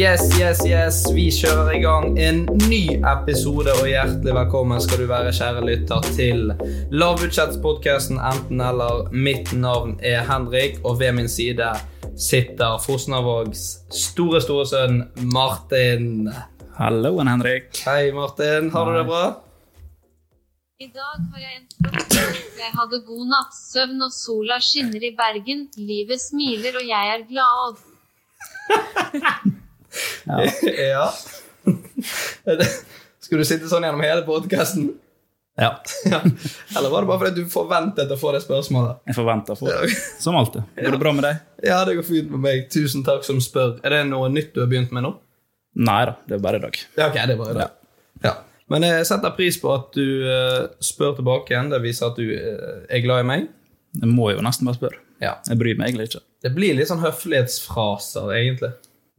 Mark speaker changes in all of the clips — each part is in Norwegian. Speaker 1: Yes, yes, yes. Vi kjører i gang en ny episode, og hjertelig velkommen skal du være, kjære lytter, til Lavbudsjettspodkasten Enten-eller. Mitt navn er Henrik, og ved min side sitter Fosnavågs store, store sønn Martin.
Speaker 2: Halloen, Henrik.
Speaker 1: Hei, Martin. Har du det bra?
Speaker 3: I dag har jeg en flott dag. Jeg hadde god nattsøvn og sola skinner i Bergen. Livet smiler og jeg er glad.
Speaker 1: Ja. Skulle du sitte sånn gjennom hele podkasten?
Speaker 2: Ja.
Speaker 1: Ja. Eller var det bare fordi du forventet å få det spørsmålet?
Speaker 2: Jeg forventer å få det. Som alltid. Går det bra med deg?
Speaker 1: Ja, det går fint med meg. Tusen takk som spør. Er det noe nytt du har begynt med nå?
Speaker 2: Nei da, det er bare i dag.
Speaker 1: Ja, ok, det er bare det. Ja. Men jeg setter pris på at du eh, spør tilbake igjen. Det viser at du eh, er glad i meg.
Speaker 2: Jeg må jo nesten bare spørre.
Speaker 1: Ja.
Speaker 2: Jeg bryr meg egentlig ikke.
Speaker 1: Det blir litt sånn høflighetsfraser, egentlig.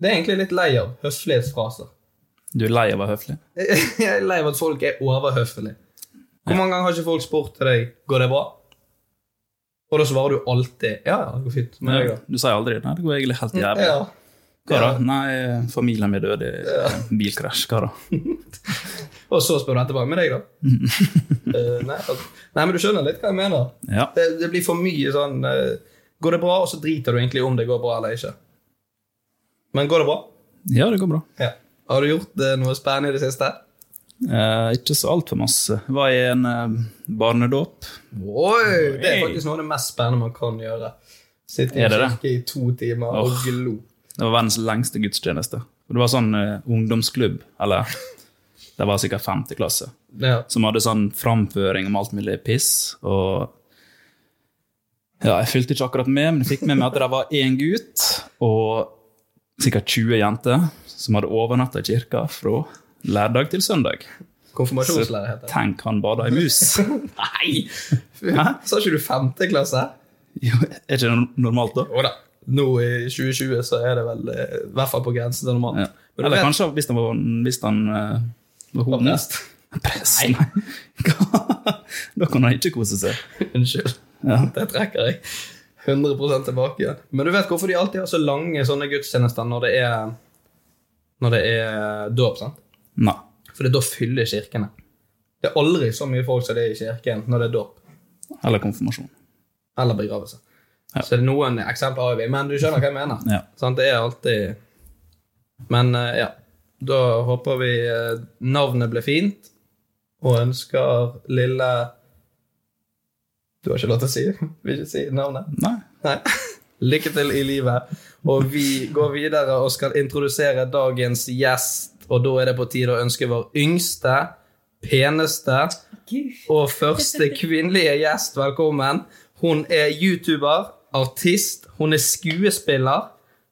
Speaker 1: Det er jeg egentlig litt lei av. Høflighetsfraser.
Speaker 2: Du er lei av å være høflig?
Speaker 1: Jeg er lei av at folk er overhøflige. Hvor mange ganger har ikke folk spurt til deg 'Går det bra?' Og da svarer du alltid 'Ja, ja, det går fint'. Men jeg, da?
Speaker 2: Du sier aldri 'nei, det går egentlig helt jævlig'.
Speaker 1: Ja.
Speaker 2: Hva da? Nei, familien min døde i bilkrasj. Hva da?
Speaker 1: Og så spør du etterpå 'Med deg, da?' Eh, nei, altså. nei, men du skjønner litt hva jeg mener.
Speaker 2: Ja.
Speaker 1: Det, det blir for mye sånn eh, Går det bra, og så driter du egentlig om det går bra eller ikke. Men går det bra?
Speaker 2: ja, det går bra.
Speaker 1: Ja. Har du gjort eh, noe spennende i det siste?
Speaker 2: Eh, ikke så altfor masse. Var i en eh, barnedåp.
Speaker 1: Oi, Det er faktisk noe av det mest spennende man kan gjøre. Sitte i
Speaker 2: Er det det?
Speaker 1: kirke i to timer og
Speaker 2: Åh.
Speaker 1: glo.
Speaker 2: Det var verdens lengste gudstjeneste. Og det var sånn eh, ungdomsklubb, eller Det var sikkert femte klasse.
Speaker 1: Ja.
Speaker 2: som hadde sånn framføring om alt mulig piss. Og ja, jeg fulgte ikke akkurat med, men jeg fikk med meg at det var én gutt og sikkert 20 jenter som hadde overnatta i kirka fra lørdag til søndag.
Speaker 1: Konfirmasjonslærer heter det.
Speaker 2: Tenk, han bada i mus! Nei! Hæ?
Speaker 1: Sa ikke du femte klasse?
Speaker 2: Jo, er ikke det normalt, da?
Speaker 1: Jo da. Nå i 2020 så er det vel eh, i hvert fall på grensen til normalt.
Speaker 2: Ja.
Speaker 1: Men du
Speaker 2: Eller
Speaker 1: vet-
Speaker 2: kanskje hvis han var, hvis han, eh, var homo.
Speaker 1: prest?
Speaker 2: Prest? Nei. da kan han ikke kose seg.
Speaker 1: Unnskyld. Det trekker jeg 100 tilbake igjen. Men du vet hvorfor de alltid har så lange sånne gudstjenester når det er Når det er dåp? sant?
Speaker 2: Nei.
Speaker 1: For det er da fyller kirkene. Det er aldri så mye folk som det er i kirken når det er dåp
Speaker 2: Eller konfirmasjon.
Speaker 1: eller begravelse. Så det er noen eksempler har vi, men du skjønner hva jeg mener.
Speaker 2: Ja.
Speaker 1: Sant? Det er alltid Men eh, ja. Da håper vi eh, navnet ble fint, og ønsker lille Du har ikke lov til å si Vil ikke si navnet?
Speaker 2: Nei.
Speaker 1: Nei. Lykke til i livet. Og vi går videre og skal introdusere dagens gjest. Og da er det på tide å ønske vår yngste, peneste og første kvinnelige gjest velkommen. Hun er YouTuber, artist, hun er skuespiller.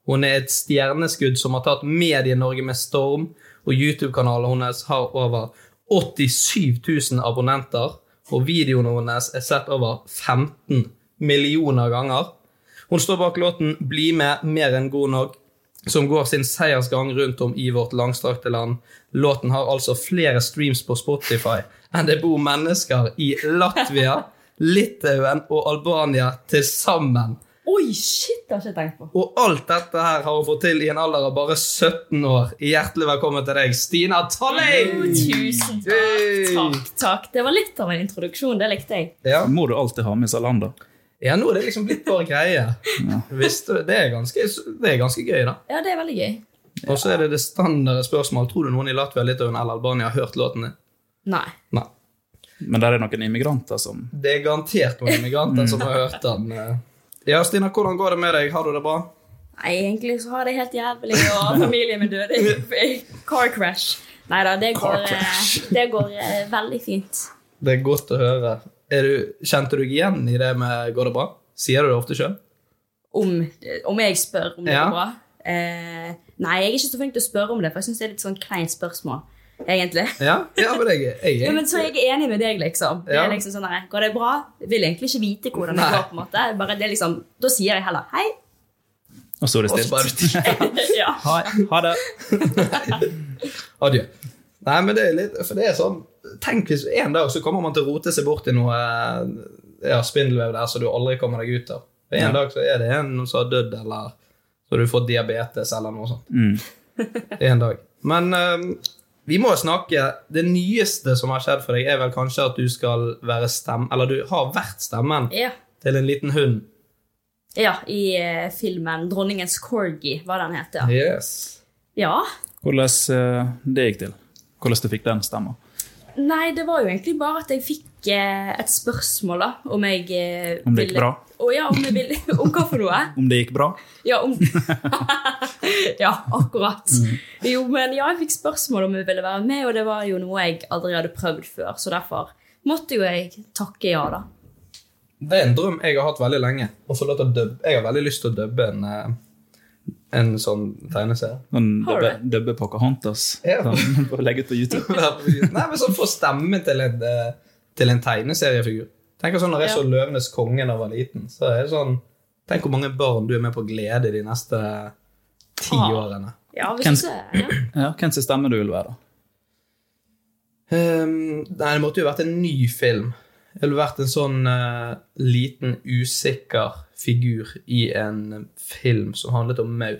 Speaker 1: Hun er et stjerneskudd som har tatt Medie-Norge med storm, og YouTube-kanalen hennes har over 87 000 abonnenter, og videoene hennes er sett over 15 millioner ganger. Hun står bak låten 'Bli med mer enn god nok', som går sin seiersgang rundt om i vårt langstrakte land. Låten har altså flere streams på Spotify enn det bor mennesker i Latvia, Litauen og Albania til sammen.
Speaker 4: Oi, shit, det har jeg ikke tenkt på.
Speaker 1: Og alt dette her har hun fått til i en alder av bare 17 år. Hjertelig velkommen til deg, Stina Talley!
Speaker 4: Tusen takk. Takk, takk. Det var litt av en introduksjon. Det likte jeg.
Speaker 1: Ja.
Speaker 2: Må du alltid ha med salander?
Speaker 1: ja, nå er det liksom blitt vår greie. Visst, det, er ganske, det er ganske gøy, da.
Speaker 4: Ja, det er veldig gøy.
Speaker 1: Og så er det det standarde spørsmål. Tror du noen i Latvia, Litauen eller Albania har hørt låten din?
Speaker 4: Nei.
Speaker 1: Nei.
Speaker 2: Men der er noen immigranter som
Speaker 1: Det er garantert noen immigranter som har hørt den. eh. Ja, Stina, hvordan går det med deg? Har du det bra?
Speaker 4: Nei, egentlig så har jeg det helt jævlig, og familien min døde i i car crash. Nei da, det
Speaker 1: Car
Speaker 4: går, eh,
Speaker 1: crash.
Speaker 4: det går eh, veldig fint.
Speaker 1: Det er godt å høre. Er du, kjente du deg igjen i det med 'går det bra'? Sier du det ofte sjøl?
Speaker 4: Om, om jeg spør om det
Speaker 1: Ja.
Speaker 4: går bra. Eh, nei, jeg er ikke så flink til å spørre om det, for jeg syns det er litt sånn kleint spørsmål, egentlig.
Speaker 1: Ja? ja, men jeg, jeg,
Speaker 4: Ja,
Speaker 1: jeg.
Speaker 4: men så er jeg enig med deg, liksom. Det
Speaker 1: Ja.
Speaker 4: er liksom sånn, nei, Går det bra? Jeg vil egentlig ikke vite hvordan det
Speaker 1: Nei.
Speaker 4: går. på en måte. Bare det er liksom, Da sier jeg heller hei.
Speaker 2: Og så er det
Speaker 1: Og så
Speaker 2: stilt.
Speaker 1: bare
Speaker 4: ja.
Speaker 2: Ha, ha det.
Speaker 1: Adjø. Nei, men det er litt For det er sånn Tenk hvis en dag så kommer man til å rote seg bort i noe eh, ja, spindelvev der som du aldri kommer deg ut av. For en
Speaker 2: Ja.
Speaker 1: dag så er det en som har dødd, eller så har du fått diabetes, eller noe sånt.
Speaker 2: Mm.
Speaker 1: En dag. Men eh, vi må snakke Det nyeste som har skjedd for deg, er vel kanskje at du skal være stem... Eller du har vært stemmen
Speaker 4: Ja.
Speaker 1: til en liten hund.
Speaker 4: ja, i eh, filmen 'Dronningens corgi', hva den heter. Ja.
Speaker 1: Yes.
Speaker 4: ja.
Speaker 2: Hvordan eh, det gikk til? Hvordan du fikk den stemma?
Speaker 4: Nei, det var jo egentlig bare at jeg fikk eh, et spørsmål, da. Om jeg eh,
Speaker 2: Om det gikk
Speaker 4: ville-
Speaker 2: bra?
Speaker 4: Å ja, om jeg ville Om hva for noe?
Speaker 2: Om det gikk bra?
Speaker 4: Ja, om Ja, akkurat. Jo, men ja, jeg fikk spørsmål om jeg ville være med, og det var jo noe jeg aldri hadde prøvd før, så derfor måtte jo jeg takke ja, da.
Speaker 1: Det er en drøm jeg har hatt veldig lenge. Å få lov til å dubbe. Jeg har veldig lyst til å dubbe en, eh, en sånn tegneserie.
Speaker 2: Sånn
Speaker 4: Har
Speaker 2: dubbe, dubbe Pocahontas.
Speaker 1: Ja.
Speaker 2: Sånn, bare legge ut på YouTube.
Speaker 1: Nei, men sånn Få stemmen til en, eh, til en tegneseriefigur. Tenk sånn Når jeg så 'Løvenes konge' da jeg var liten, så er det sånn Tenk hvor mange barn du er med på å glede de neste ti
Speaker 4: Ah.
Speaker 1: årene.
Speaker 4: Ja, hvis
Speaker 2: Kan-
Speaker 4: ikke, ja.
Speaker 2: Ja, Hvem sin stemme du vil være?
Speaker 1: Ehm, nei, det måtte jo vært en ny film. Eller vært en sånn eh, liten, usikker figur i en film som handlet om maur.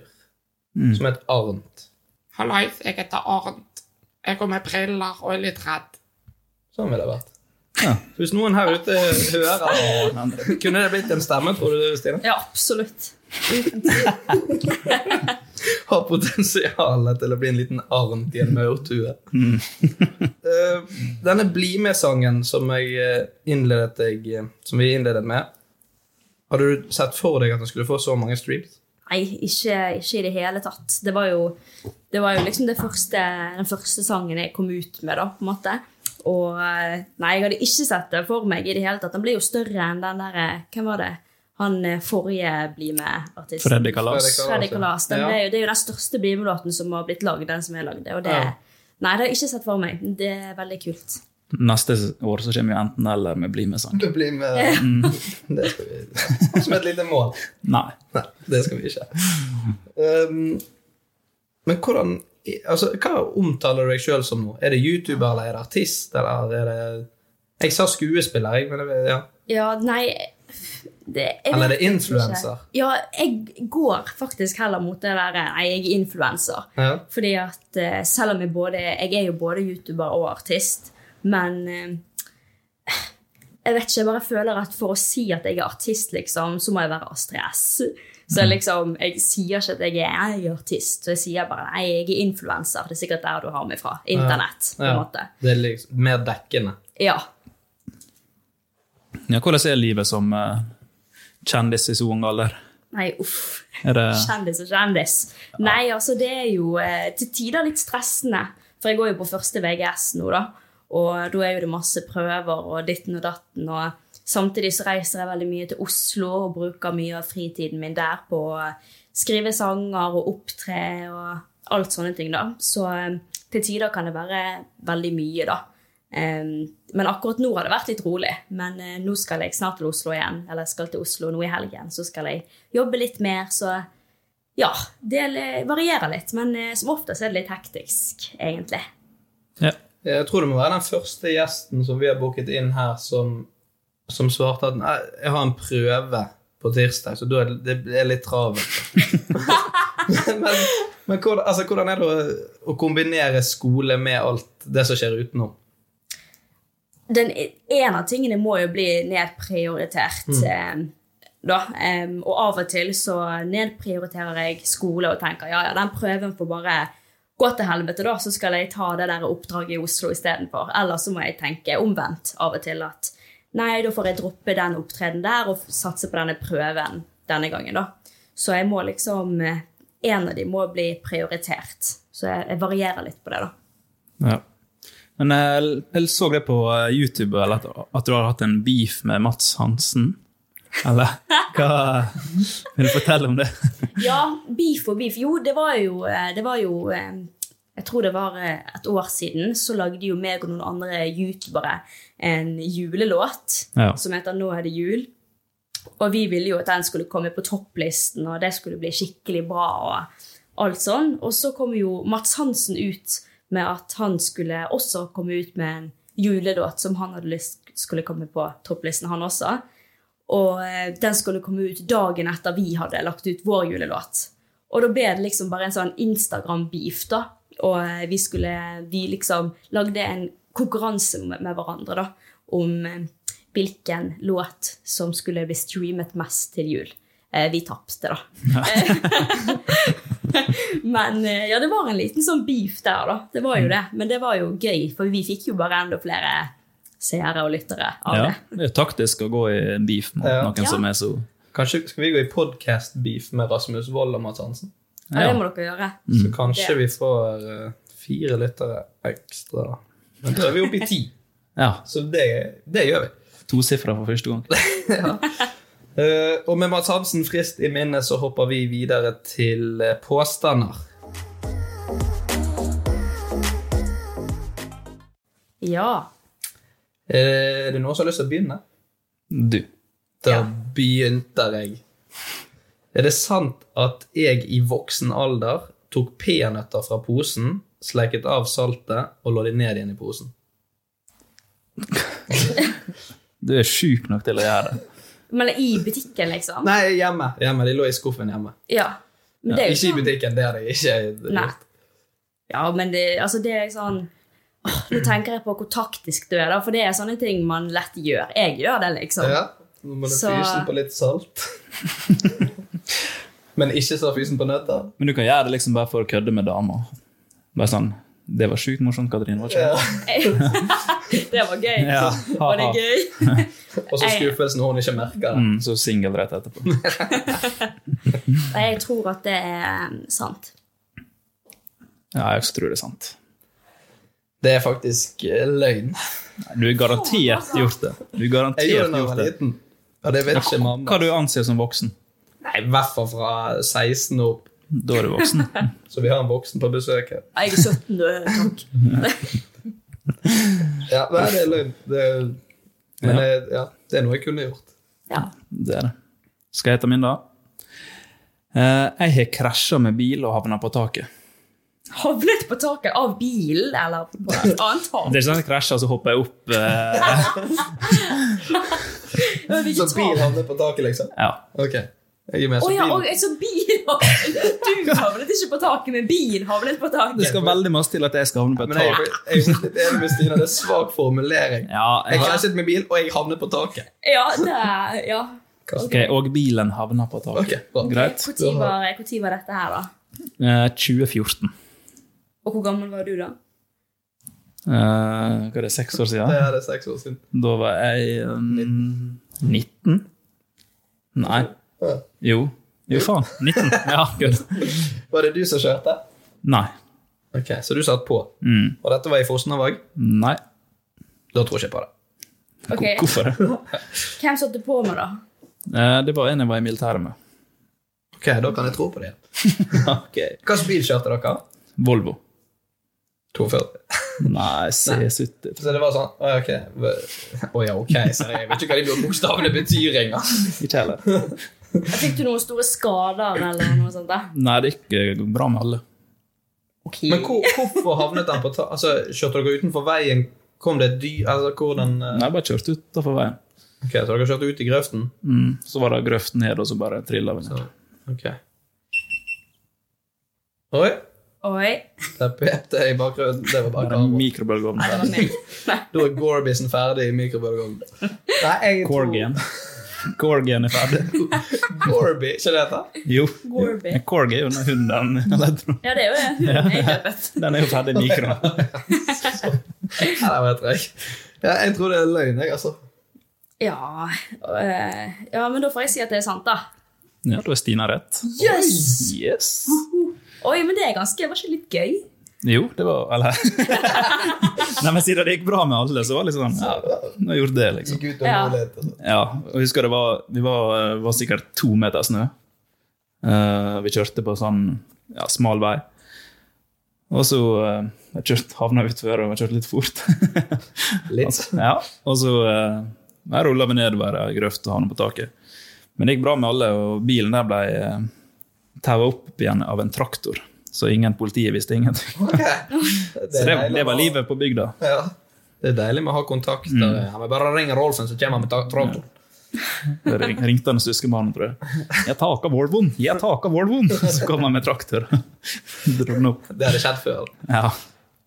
Speaker 1: Som het Arnt.
Speaker 5: Hallais, jeg heter Arnt. Jeg går med briller og er litt redd.
Speaker 1: Sånn ville det vært.
Speaker 2: Ja.
Speaker 1: Hvis noen her ute hører Kunne det blitt en stemme, tror du, Stine?
Speaker 4: ja, absolutt.
Speaker 1: Har potensialet til å bli en liten arm i en maurtue. Eh, Denne Bli med-sangen som jeg eh, innledet deg eh, Som vi innledet med Hadde du sett for deg at den skulle få så mange streams?
Speaker 4: Nei, ikke, ikke i det hele tatt. Det var jo, det var jo liksom det første, den første sangen jeg kom ut med, da, på en måte. Og eh, nei, jeg hadde ikke sett det for meg i det hele tatt. Den ble jo større enn den der eh, Hvem var det? Han eh, forrige Bli med-artisten.
Speaker 2: Freddy Kalas.
Speaker 1: Fredrik
Speaker 4: Fredrik Kalas. Den
Speaker 1: Ja.
Speaker 4: ble jo, det er jo den største Bli med-låten som har blitt lagd, den som jeg lagde. Og det,
Speaker 1: Ja.
Speaker 4: Nei, det har jeg ikke sett for meg. Det er veldig kult.
Speaker 2: Neste år så kommer jo enten eller med Bli med-sang.
Speaker 1: Du blir med Det skal vi Som et lite mål.
Speaker 2: Nei.
Speaker 1: Nei, det skal vi ikke. Um, men hvordan altså, Hva omtaler du deg sjøl som nå? Er det YouTuber, eller er det artist, eller er det Jeg sa skuespiller, jeg, men det, ja.
Speaker 4: Ja, nei det, jeg
Speaker 1: Eller er det
Speaker 4: vet ikke.
Speaker 1: influenser?
Speaker 4: Ja, jeg går faktisk heller mot det der Nei, jeg er influenser.
Speaker 1: ja.
Speaker 4: Fordi at eh, selv om jeg både Jeg er jo både YouTuber og artist, men eh, Jeg vet ikke, jeg bare føler at for å si at jeg er artist, liksom, så må jeg være Astrid S. Så jeg liksom, jeg sier ikke at jeg er, jeg er artist, så jeg sier bare nei, jeg er influenser. Det er sikkert der du har meg fra. Internett, på en
Speaker 1: Ja.
Speaker 4: måte.
Speaker 1: Det er liksom mer dekkende.
Speaker 4: Ja.
Speaker 2: Ja, hvordan er livet som eh, kjendis i så ung alder?
Speaker 4: Nei, uff.
Speaker 2: Er det-
Speaker 4: Kjendis og kjendis. Nei, altså, det er jo eh, til tider litt stressende. For jeg går jo på første VGS nå, da. Og da er jo det masse prøver og ditten og datten. Og samtidig så reiser jeg veldig mye til Oslo og bruker mye av fritiden min der på å skrive sanger og opptre og alt sånne ting, da. Så eh, til tider kan det være veldig mye, da. Em, men akkurat nå har det vært litt rolig. Men eh, nå skal jeg snart til Oslo igjen. Eller jeg skal til Oslo nå i helgen, så skal jeg jobbe litt mer. Så ja, det eh, varierer litt. Men eh, som oftest er det litt hektisk, egentlig.
Speaker 1: Jeg tror det må være den første gjesten som vi har booket inn her, som, som svarte at nei, jeg har en prøve på tirsdag, så da er det, det er litt travelt. men men hvordan, altså, hvordan er det å, å kombinere skole med alt det som skjer utenom?
Speaker 4: den, en av tingene må jo bli nedprioritert.
Speaker 1: Mm.
Speaker 4: eh, Da. Em, Og av og til så nedprioriterer jeg skole og tenker ja, ja, den prøven får bare gå til helvete, da, så skal jeg ta det der oppdraget i Oslo istedenfor. Eller så må jeg tenke omvendt av og til at nei, da får jeg droppe den opptredenen der og satse på denne prøven denne gangen, da. Så jeg må liksom eh, En av de må bli prioritert. Så jeg, jeg varierer litt på det, da.
Speaker 2: Ja. Men jeg, jeg så det på eh, YouTube eller at, at du har hatt en beef med Mats Hansen. Eller hva Vil du fortelle om det?
Speaker 4: Ja, beef og beef. Jo, det var jo, eh, det var jo eh, Jeg tror det var eh, et år siden, så lagde jo meg og noen andre youtubere en julelåt
Speaker 2: Ja.
Speaker 4: som heter 'Nå er det jul'. Og vi ville jo at den skulle komme på topplisten, og det skulle bli skikkelig bra. Og alt sånn. Og så kom jo Mats Hansen ut med at han skulle også komme ut med en julelåt som han hadde lyst skulle komme på topplisten, han også. Og eh, den skulle komme ut dagen etter vi hadde lagt ut vår julelåt. Og da ble det liksom bare en sånn Instagram-beef, da. Og eh, vi skulle Vi liksom lagde en konkurranse med, med hverandre, da. Om eh, hvilken låt som skulle bli streamet mest til jul. Eh, vi tapte, da. Men eh, ja, det var en liten sånn beef der, da. Det var jo det. Men det var jo gøy, for vi fikk jo bare enda flere seere og lyttere av
Speaker 2: Ja,
Speaker 4: det.
Speaker 2: det er jo taktisk å gå i en beef mot
Speaker 1: Ja.
Speaker 2: noen
Speaker 4: Ja.
Speaker 2: som er så
Speaker 1: Kanskje skal vi gå i podcast-beef med Rasmus Wold og Mads Hansen?
Speaker 4: Ja, det må dere gjøre.
Speaker 1: Så kanskje
Speaker 4: Det-
Speaker 1: vi får eh, fire lyttere ekstra. da. Men da er vi oppe i ti,
Speaker 2: ja,
Speaker 1: så det, det gjør vi.
Speaker 2: tosifra for første gang.
Speaker 1: Eh, og med Mads Hansen frist i minnet så hopper vi videre til eh, påstander.
Speaker 4: Ja.
Speaker 1: Eh, er det noen som har lyst til å begynne?
Speaker 2: Du.
Speaker 1: Da begynte jeg. Er det sant at jeg i voksen alder tok peanøtter fra posen, sleiket av saltet og lå de ned igjen i posen?
Speaker 2: Du er sjuk nok til å gjøre det.
Speaker 4: Men eller i butikken, liksom?
Speaker 1: Nei, hjemme. hjemme. De lå i skuffen hjemme.
Speaker 4: Ja. Men det er jo
Speaker 1: Ikke i
Speaker 4: sånn-
Speaker 1: butikken, det er det ikke.
Speaker 4: Nei. Ja, men det, altså det er sånn Åh, Nå tenker jeg på hvor taktisk du er, da, for det er sånne ting man lett gjør. Jeg gjør det, liksom.
Speaker 1: Ja, nå må du
Speaker 4: Så-
Speaker 1: fysen på litt salt. Men ikke så fysen på nøtter.
Speaker 2: Men du kan gjøre det liksom bare for å kødde med damer. Bare sånn Det var sjukt morsomt, Katrin. Var ikke det?
Speaker 4: det var gøy.
Speaker 2: Ja.
Speaker 4: Var det gøy?
Speaker 1: Og så skuffelsen når hun ikke merker det.
Speaker 2: Mm, så singel rett etterpå.
Speaker 4: Nei, Jeg tror at det er um, sant.
Speaker 2: Ja, jeg også tror det er sant.
Speaker 1: Det er faktisk eh, løgn.
Speaker 2: Du er garantert gjort det. Du er
Speaker 1: Jeg gjorde det
Speaker 2: garantert
Speaker 1: da jeg
Speaker 2: gjort
Speaker 1: var
Speaker 2: det.
Speaker 1: liten. Og det vet ikke mamma.
Speaker 2: Hva du anser som voksen?
Speaker 1: Nei, I hvert fall fra 16 og opp.
Speaker 2: Da er du voksen.
Speaker 1: Så vi har en voksen på besøk her.
Speaker 4: Jeg er 17, du. Takk.
Speaker 1: Ja, nei, det er løgn. Det er, men
Speaker 2: Ja.
Speaker 1: eh, ja, det er noe jeg kunne gjort.
Speaker 4: Ja.
Speaker 2: Det er det. Skal jeg ta min, da? Eh, Jeg har krasja med bil og havna på taket.
Speaker 4: Havlet på taket av bilen, eller på et annet tak.
Speaker 2: Det er ikke sånn at jeg krasjer, så hopper jeg opp. eh,
Speaker 1: Så bil havner på taket, liksom?
Speaker 2: Ja.
Speaker 1: Ok. Jeg er med.
Speaker 4: Å
Speaker 1: Så
Speaker 4: ja,
Speaker 1: bil-
Speaker 4: og, så bil Du havlet ikke på taket, men bilen havlet på taket.
Speaker 2: Det skal veldig masse til at jeg skal havne på et
Speaker 1: Men jeg,
Speaker 2: tak.
Speaker 1: jeg, jeg er litt enig med Stina. Det er svak formulering.
Speaker 2: Ja, jeg
Speaker 1: Jeg
Speaker 2: har-
Speaker 1: krasjet med bil, og jeg havnet på taket.
Speaker 4: Ja, det er, ja.
Speaker 2: Ok, Og bilen havna på taket.
Speaker 1: Ok, bra.
Speaker 2: Greit.
Speaker 4: Hvor tid var, hvor tid var dette her, da?
Speaker 2: Eh, 2014.
Speaker 4: Og hvor gammel var du da?
Speaker 2: Eh, hva er det, seks år
Speaker 1: Det
Speaker 2: siden?
Speaker 1: er det seks år siden.
Speaker 2: Da var jeg eh, 19. Nei.
Speaker 1: Ja.
Speaker 2: Jo. Jo, faen. 19. Ja, good.
Speaker 1: Var det du som kjørte?
Speaker 2: Nei.
Speaker 1: Ok, Så du satt på.
Speaker 2: Mm.
Speaker 1: Og dette var i Fosnavåg?
Speaker 2: Nei.
Speaker 1: Da tror jeg ikke på det.
Speaker 4: Ok,
Speaker 2: Hvorfor det?
Speaker 4: Hvem satte på meg, da?
Speaker 2: Eh, Det var en jeg var i militæret med.
Speaker 1: Ok, Da kan jeg tro på det. okay. Hvilken bil kjørte dere?
Speaker 2: Volvo.
Speaker 1: 42.
Speaker 2: Nei, C70.
Speaker 1: Så det var sånn Å ja, ok. V- Å ja, ok. Så jeg vet ikke hva de bokstavene betyr engang.
Speaker 2: Ikke heller.
Speaker 4: Fikk du noen store skader eller noe sånt? da?
Speaker 2: Nei, det gikk eh, bra med alle.
Speaker 1: Men hvor, hvorfor havnet den på ta... Altså, Kjørte dere utenfor veien? Kom det et dyr Altså, hvordan eh,
Speaker 2: Nei, jeg bare kjørte utafor veien.
Speaker 1: Ok, Så dere kjørte ut i grøften?
Speaker 2: Mm. Så var det grøft ned, og så bare trilla vi ned.
Speaker 1: Så, ok. Oi,
Speaker 4: Oi,
Speaker 1: der pepte jeg i bakgrunnen. Det var bare
Speaker 2: Bare en
Speaker 1: kamera.
Speaker 2: mikrobølgeovn.
Speaker 4: det var meg.
Speaker 1: Da er Gorbisen ferdig i mikrobølgeovnen. Nei, jeg
Speaker 2: Corgan. Corgan er ferdig.
Speaker 1: Gorby, ikke det heter?
Speaker 2: Jo.
Speaker 4: Gorby.
Speaker 2: En Corgi er jo den hunden. eller jeg tror-
Speaker 4: Ja, det er jo det. Hun er døpet.
Speaker 2: Den er jo ferdig i mikroen.
Speaker 1: Nei, det vet jeg. Ja, jeg tror det er løgn, jeg, altså.
Speaker 4: Ja, øh, ja, men da får jeg si at det er sant, da.
Speaker 2: Ja, da er Stina rett.
Speaker 4: Yes!
Speaker 2: Yes!
Speaker 4: Oi, men det er ganske, var ikke det litt gøy?
Speaker 2: Jo, det var Eller Nei, men siden det gikk bra med alle, så var det liksom Ja, nå gjorde det, liksom.
Speaker 1: Gikk ut og
Speaker 4: Ja.
Speaker 1: målet. altså.
Speaker 2: Ja, og jeg husker det var Vi var, var sikkert to meter snø. Eh, vi kjørte på sånn ja, smal vei. Og så eh, jeg kjørte, havna utfor og jeg kjørte litt fort.
Speaker 1: Litt.
Speaker 2: Altså, ja, og så uh, rulla vi nedover ei grøft og havna på taket. Men det gikk bra med alle, og bilen der ble uh, taua opp igjen av en traktor. Så ingen politiet visste ingenting.
Speaker 1: Ok.
Speaker 2: Så det,
Speaker 1: deilig
Speaker 2: det
Speaker 1: å ha-
Speaker 2: var livet på bygda.
Speaker 1: Ja. Det er deilig med å ha kontakter.
Speaker 2: Mm.
Speaker 1: Ja, men bare ring Rolfen, så kommer han med ta- traktoren.
Speaker 2: Det ring- ringte han søskenbarnet, tror jeg. 'Jeg taka Volvoen! Jeg taka Volvoen!' Så kom han med traktor. Dro den opp.
Speaker 1: Det hadde skjedd før.
Speaker 2: Ja.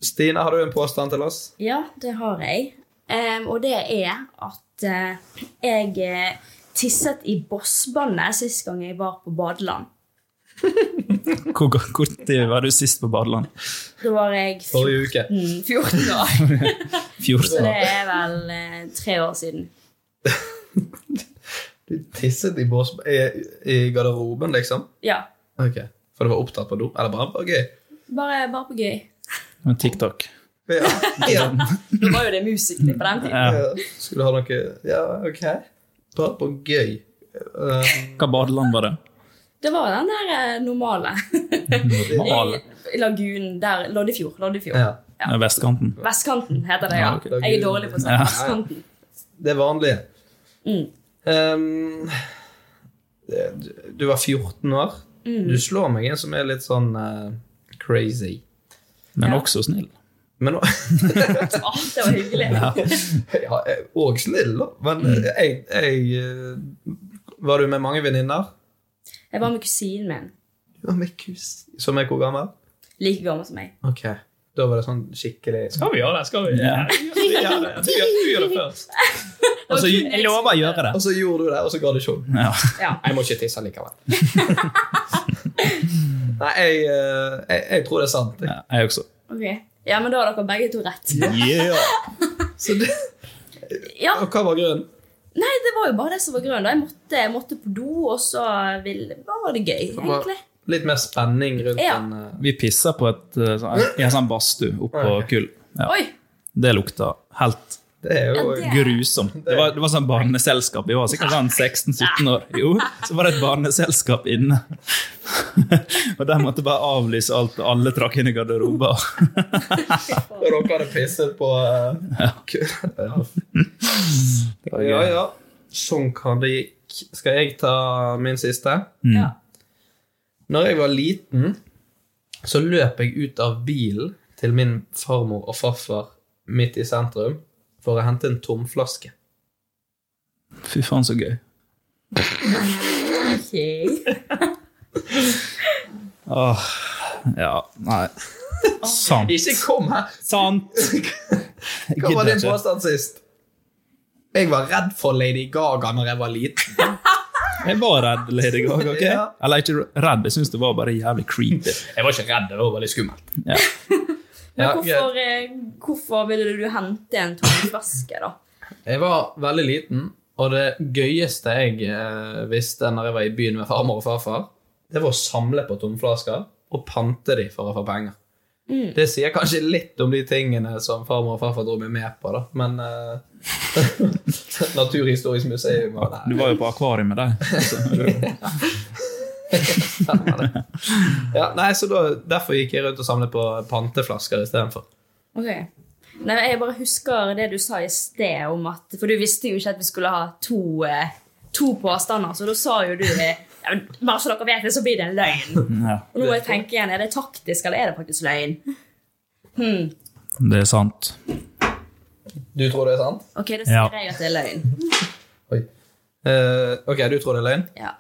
Speaker 1: Stina, har du en påstand til oss?
Speaker 4: Ja, det har jeg. Em, og det er at eh, jeg eh, tisset i bossbandet sist gang jeg var på badeland.
Speaker 2: Hvor når var du sist på badeland?
Speaker 4: Da var jeg fjor-
Speaker 1: Forrige
Speaker 4: Mm.
Speaker 1: uke.
Speaker 4: 14 år,
Speaker 2: 14
Speaker 4: så det
Speaker 2: år.
Speaker 4: er vel eh, tre år siden.
Speaker 1: Du tisset i, bås, i, i garderoben, liksom?
Speaker 4: Ja,
Speaker 1: Ok. For du var opptatt på do? Eller bare var gøy?
Speaker 4: bare, bare på gøy.
Speaker 2: Men TikTok.
Speaker 1: Ja. ja.
Speaker 4: Da var jo det musikere på den tiden.
Speaker 2: Mm. Ja.
Speaker 1: ja. Skulle du ha noe Ja, ok. Bare på gøy. Um,
Speaker 2: Hva badeland var det?
Speaker 4: Det var den der eh, normale.
Speaker 2: Normale.
Speaker 4: I lagunen der. Loddefjord. Loddefjord.
Speaker 1: ja.
Speaker 2: Eh, Vestkanten.
Speaker 4: Vestkanten heter det,
Speaker 2: Ja,
Speaker 4: ja.
Speaker 2: ok.
Speaker 4: Jeg er dårlig på sånn.
Speaker 2: Ja.
Speaker 4: Vestkanten.
Speaker 1: Det vanlige.
Speaker 4: Mm.
Speaker 1: Um, det- du var 14 år.
Speaker 2: Mm.
Speaker 1: Du slår meg en som er litt sånn eh, crazy.
Speaker 2: Men
Speaker 4: Ja.
Speaker 2: også snill.
Speaker 1: Men nå
Speaker 4: Å, det var hyggelig.
Speaker 1: Ja, jeg- og snill, da. Men jeg, jeg eh, Var du med mange venninner?
Speaker 4: Jeg var med kusinen min.
Speaker 1: Du var med kus Som er hvor gammel?
Speaker 4: Like gammel som meg.
Speaker 1: Ok. Da var det sånn skikkelig Skal vi gjøre det? Skal vi?
Speaker 2: Ja.
Speaker 1: vi gjør det. Du gjør, du gjør det først.
Speaker 2: Altså, jeg lover å gjøre det.
Speaker 1: Og så gjorde du det, og så ga du sjokk.
Speaker 2: Ja.
Speaker 4: liksom- Ja.
Speaker 1: Jeg må ikke tisse likevel. Nei, jeg, eh, jeg, jeg tror det er sant.
Speaker 2: Ja, Jeg også.
Speaker 4: Ok. ja, men da har dere begge to rett.
Speaker 2: Yeah.
Speaker 1: Så det,
Speaker 4: Ja,
Speaker 1: og hva var grunnen?
Speaker 4: Nei, det var jo bare det som var grunnen. da. Jeg måtte, jeg måtte på do, og så ville, bare var det gøy, egentlig.
Speaker 1: Litt mer spenning rundt
Speaker 4: Ja.
Speaker 1: den eh,
Speaker 2: Vi pissa på et, eh, sånn- i en sånn badstue oppå kull. Ja.
Speaker 4: Oi!
Speaker 2: Det lukta helt
Speaker 1: Det er jo
Speaker 4: Ja, det-
Speaker 2: grusomt. Det var, det var sånn barneselskap. Vi var sikkert sånn 16-17 år. Jo, så var det et barneselskap inne. Og der måtte bare avlyse alt, og alle trakk inn i garderober.
Speaker 1: Og dere hadde pisset på eh, kul- ja.
Speaker 2: Det var gøy.
Speaker 1: Ja, ja. Sånn kan det gikk. Skal jeg ta min siste?
Speaker 4: Ja.
Speaker 1: Når jeg var liten, så løp jeg ut av bilen til min farmor og farfar midt i sentrum for å hente en tomflaske.
Speaker 2: Fy faen, så gøy.
Speaker 4: Ok.
Speaker 2: Åh, ja, nei. Sant.
Speaker 1: Ikke kom her!
Speaker 2: Sant! Jeg
Speaker 1: Hva var
Speaker 2: gidder
Speaker 1: din
Speaker 2: ikke.
Speaker 1: påstand sist? Jeg var redd for Lady Gaga når jeg var liten.
Speaker 2: Jeg var redd Lady Gaga. ok?
Speaker 1: Ja.
Speaker 2: Eller ikke redd, jeg syns det var bare jævlig creepy.
Speaker 1: Jeg var ikke redd, det var veldig skummelt.
Speaker 2: Ja.
Speaker 4: Men
Speaker 1: Ja,
Speaker 4: hvorfor, eh, hvorfor ville du hente en tom flaske, da?
Speaker 1: Jeg var veldig liten, og Og det gøyeste jeg eh, visste når jeg var i byen med farmor og farfar, det var å samle på tomflasker og pante de for å få penger.
Speaker 4: Mm.
Speaker 1: Det sier kanskje litt om de tingene som farmor og farfar dro meg med på, da. Men eh, Naturhistorisk museum og
Speaker 2: Du var jo på akvariet med deg.
Speaker 1: ja, Nei, så da, derfor gikk jeg rundt og samlet på panteflasker istedenfor.
Speaker 4: Ok. Nei, men jeg bare husker det du sa i sted om at For du visste jo ikke at vi skulle ha to, eh, to påstander, så da sa jo du eh, ja, men Bare så dere vet det, så blir det en løgn.
Speaker 2: Ja,
Speaker 4: Og nå må jeg tenke igjen, er det taktisk, eller er det faktisk løgn? Hmm.
Speaker 2: det er sant.
Speaker 1: Du tror det er sant?
Speaker 4: Ok, da sier
Speaker 2: Ja.
Speaker 4: jeg at det er løgn.
Speaker 1: Eh, ok, du tror det er løgn?
Speaker 4: Ja.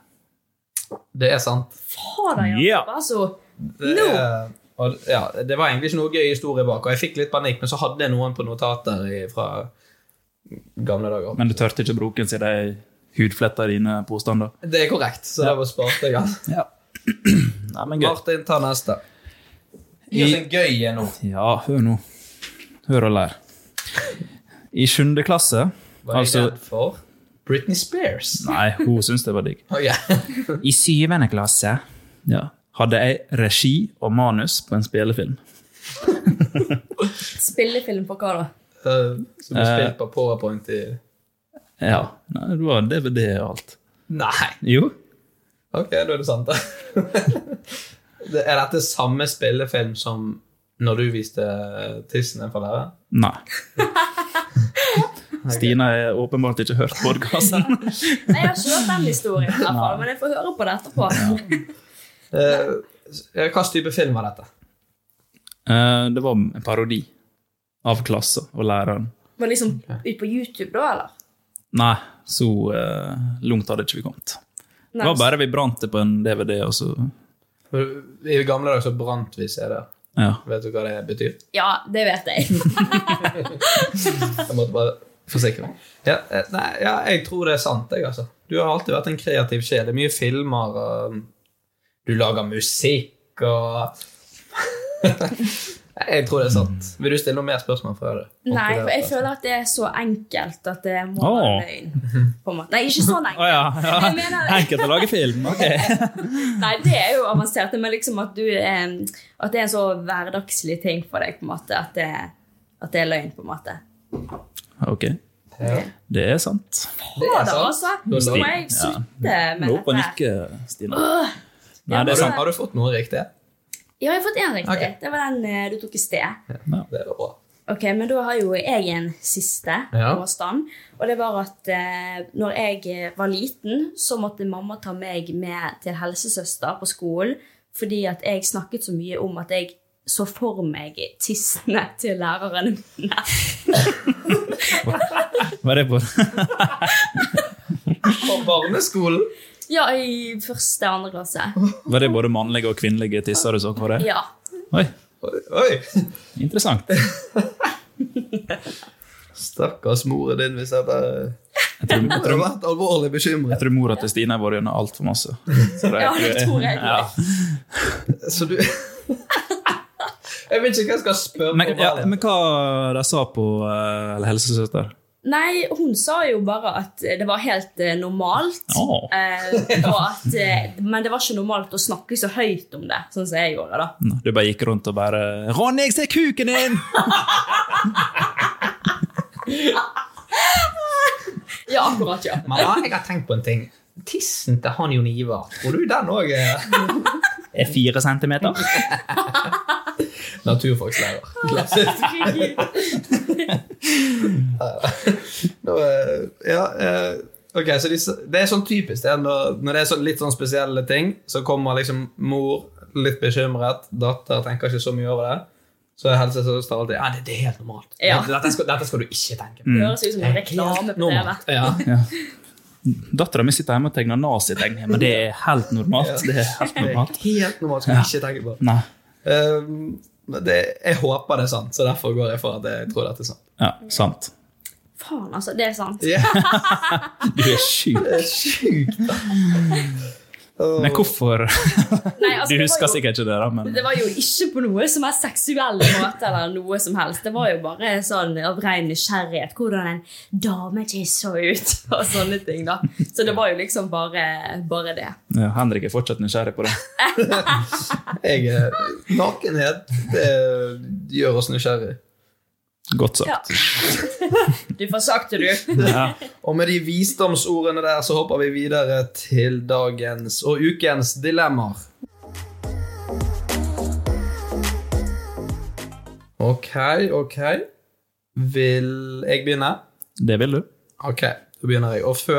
Speaker 1: Det er sant.
Speaker 4: Fader, Jakob,
Speaker 1: Ja.
Speaker 4: altså.
Speaker 1: Det, er- og, ja, det var egentlig ikke noe gøy historie bak, og jeg fikk litt panikk, men så hadde jeg noen på notater i, fra gamle dager.
Speaker 2: Men du tørte ikke bruke den siden de hudfletta dine påstander.
Speaker 1: Det er korrekt, så det var spart jeg av. Martin, ta neste. Gi oss en gøy en nå.
Speaker 2: Ja, hør nå. Hør og lær. I sjuende klasse altså
Speaker 1: Var jeg redd for Britney Spears?
Speaker 2: Nei, hun syntes det var digg.
Speaker 1: Å, ja.
Speaker 2: I syvende klasse ja, hadde jeg regi og manus på en spillefilm.
Speaker 4: Spillefilm på hva da?
Speaker 1: Eh, Som er
Speaker 2: Eh.
Speaker 1: spilt på powerpoint i
Speaker 2: Ja, nei, det var DVD og alt.
Speaker 1: Nei!
Speaker 2: Jo.
Speaker 1: Ok, da er det sant, da. Det- er dette samme spillefilm som når du viste tissen din for læreren?
Speaker 2: Nei. Stina har åpenbart ikke hørt podkasten.
Speaker 4: Nei, jeg har ikke hørt den historien, i hvert fall, men jeg får høre på det etterpå.
Speaker 1: Eh, hva slags type film var dette?
Speaker 2: Eh, Det var en parodi av klassen og læreren.
Speaker 4: Var det liksom ut på YouTube da, eller?
Speaker 2: Nei, så eh, langt hadde ikke vi kommet.
Speaker 4: Nei,
Speaker 2: Det var
Speaker 4: så-
Speaker 2: bare vi brant det på en DVD, og så
Speaker 1: For I gamle dager så brant vi CD-er.
Speaker 2: Ja.
Speaker 1: Vet du hva det betyr?
Speaker 4: Ja, det vet jeg.
Speaker 1: Jeg måtte bare forsikre meg. Ja, eh, nei, ja, jeg tror det er sant, jeg, altså. Du har alltid vært en kreativ sjel. Det er mye filmer, og du lager musikk og Jeg tror det er sant. Vil du stille noen mer spørsmål fra det?
Speaker 4: Nei, for jeg
Speaker 1: altså.
Speaker 4: føler at det er så enkelt at det må
Speaker 2: Åh.
Speaker 4: være løgn. På en måte. Nei, ikke sånn
Speaker 2: Å
Speaker 4: enkelt.
Speaker 2: ja.
Speaker 4: Jeg mener-
Speaker 2: Enkelt å lage film. Ok.
Speaker 4: Nei, det er jo avansert, men liksom at, du, eh, at det er en så hverdagslig ting for deg, på en måte, at det, at det er løgn, på en måte.
Speaker 2: Ok. Det er sant.
Speaker 4: Det er sant. Altså. Nå må jeg
Speaker 2: Ja.
Speaker 4: slutte med
Speaker 2: Lå på å
Speaker 4: dette.
Speaker 2: nikke, Stina.
Speaker 4: Åh.
Speaker 2: Nei, det er sant.
Speaker 1: Har du fått noe riktig?
Speaker 4: Ja, jeg har fått én riktig.
Speaker 1: Ok.
Speaker 4: Det var den eh, du tok i sted.
Speaker 1: Det var bra.
Speaker 4: Ok, Men da har jo jeg en siste
Speaker 1: Ja.
Speaker 4: påstand. Og det var at eh, når jeg eh, var liten, så måtte mamma ta meg med til helsesøster på skolen fordi at jeg snakket så mye om at jeg så for meg tissene til læreren.
Speaker 2: Hva er det på?
Speaker 1: På barneskolen?
Speaker 4: Ja, i første andre klasse.
Speaker 2: Var det både mannlige og kvinnelige tisser du så for deg?
Speaker 4: Ja.
Speaker 2: Oi,
Speaker 1: Oi!
Speaker 2: interessant.
Speaker 1: Stakkars moren din hvis jeg hadde
Speaker 2: Jeg tror, jeg
Speaker 1: hadde
Speaker 2: tror,
Speaker 1: vært alvorlig bekymret.
Speaker 2: jeg tror mora til Stina har vært gjennom altfor masse. Så
Speaker 4: Ja, det tror jeg.
Speaker 2: Ja.
Speaker 1: Så du Jeg vet ikke hva jeg skal spørre
Speaker 2: Men,
Speaker 1: om.
Speaker 2: ja,
Speaker 1: her.
Speaker 2: men hva de sa på eh, eller helsesøster?
Speaker 4: Nei, hun sa jo bare at det var helt eh, normalt.
Speaker 2: Åh.
Speaker 4: Eh, og at, eh, men det var ikke normalt å snakke så høyt om det, sånn som jeg gjorde. da.
Speaker 2: Du bare gikk rundt og bare 'Ronny, jeg ser kuken din!'
Speaker 4: Ja, akkurat, ja.
Speaker 1: Mamma, jeg har tenkt på en ting. Tissen til han Jon Ivar, tror du den òg er
Speaker 2: Er fire centimeter.
Speaker 1: Naturfagslærer. Klassisk. Nå, eh, ja, eh, ok, så de, s- Det er sånn typisk. Det er når, når det er sånn, litt sånn spesielle ting, så kommer liksom mor litt bekymret, datter tenker ikke så mye over det. Så er helsesøster alltid ja, det, det er helt normalt.
Speaker 4: Ja.
Speaker 1: Dette, skal, dette skal du ikke tenke på.
Speaker 2: Mm.
Speaker 4: Det høres ut som en reklame på TV.
Speaker 1: Normalt. Ja.
Speaker 2: Dattera mi sitter hjemme og tegner nazitegn, men det er helt normalt. Det er helt
Speaker 1: Det er
Speaker 2: normalt.
Speaker 1: helt normalt, skal du ikke tenke på.
Speaker 2: Nei.
Speaker 1: Um, men det, jeg håper det er sant, så derfor går jeg for at jeg tror dette er sant.
Speaker 2: Ja, sant.
Speaker 4: Faen, altså. Det er sant.
Speaker 1: Ja,
Speaker 2: Du er sjuk.
Speaker 1: det er sjukt, da.
Speaker 6: Men hvorfor?
Speaker 4: Nei, altså,
Speaker 6: du
Speaker 4: det var
Speaker 6: husker
Speaker 4: jo-
Speaker 6: sikkert ikke det, da. Men
Speaker 4: Det var jo ikke på noe som er seksuell måte eller noe som helst. Det var jo bare sånn av ren nysgjerrighet hvordan en dametiss så ut og sånne ting. da. Så det var jo liksom bare, bare det.
Speaker 6: ja, Henrik er fortsatt nysgjerrig på det.
Speaker 1: Jeg er Nakenhet det gjør oss nysgjerrig.
Speaker 6: Godt
Speaker 4: Ja.
Speaker 6: sagt.
Speaker 4: Du får sagt det, du.
Speaker 6: Ja.
Speaker 1: Og med de visdomsordene der så hopper vi videre til dagens og ukens dilemmaer. Ok, ok. Vil jeg begynne?
Speaker 6: Det vil du.
Speaker 1: Ok, da begynner jeg. Og før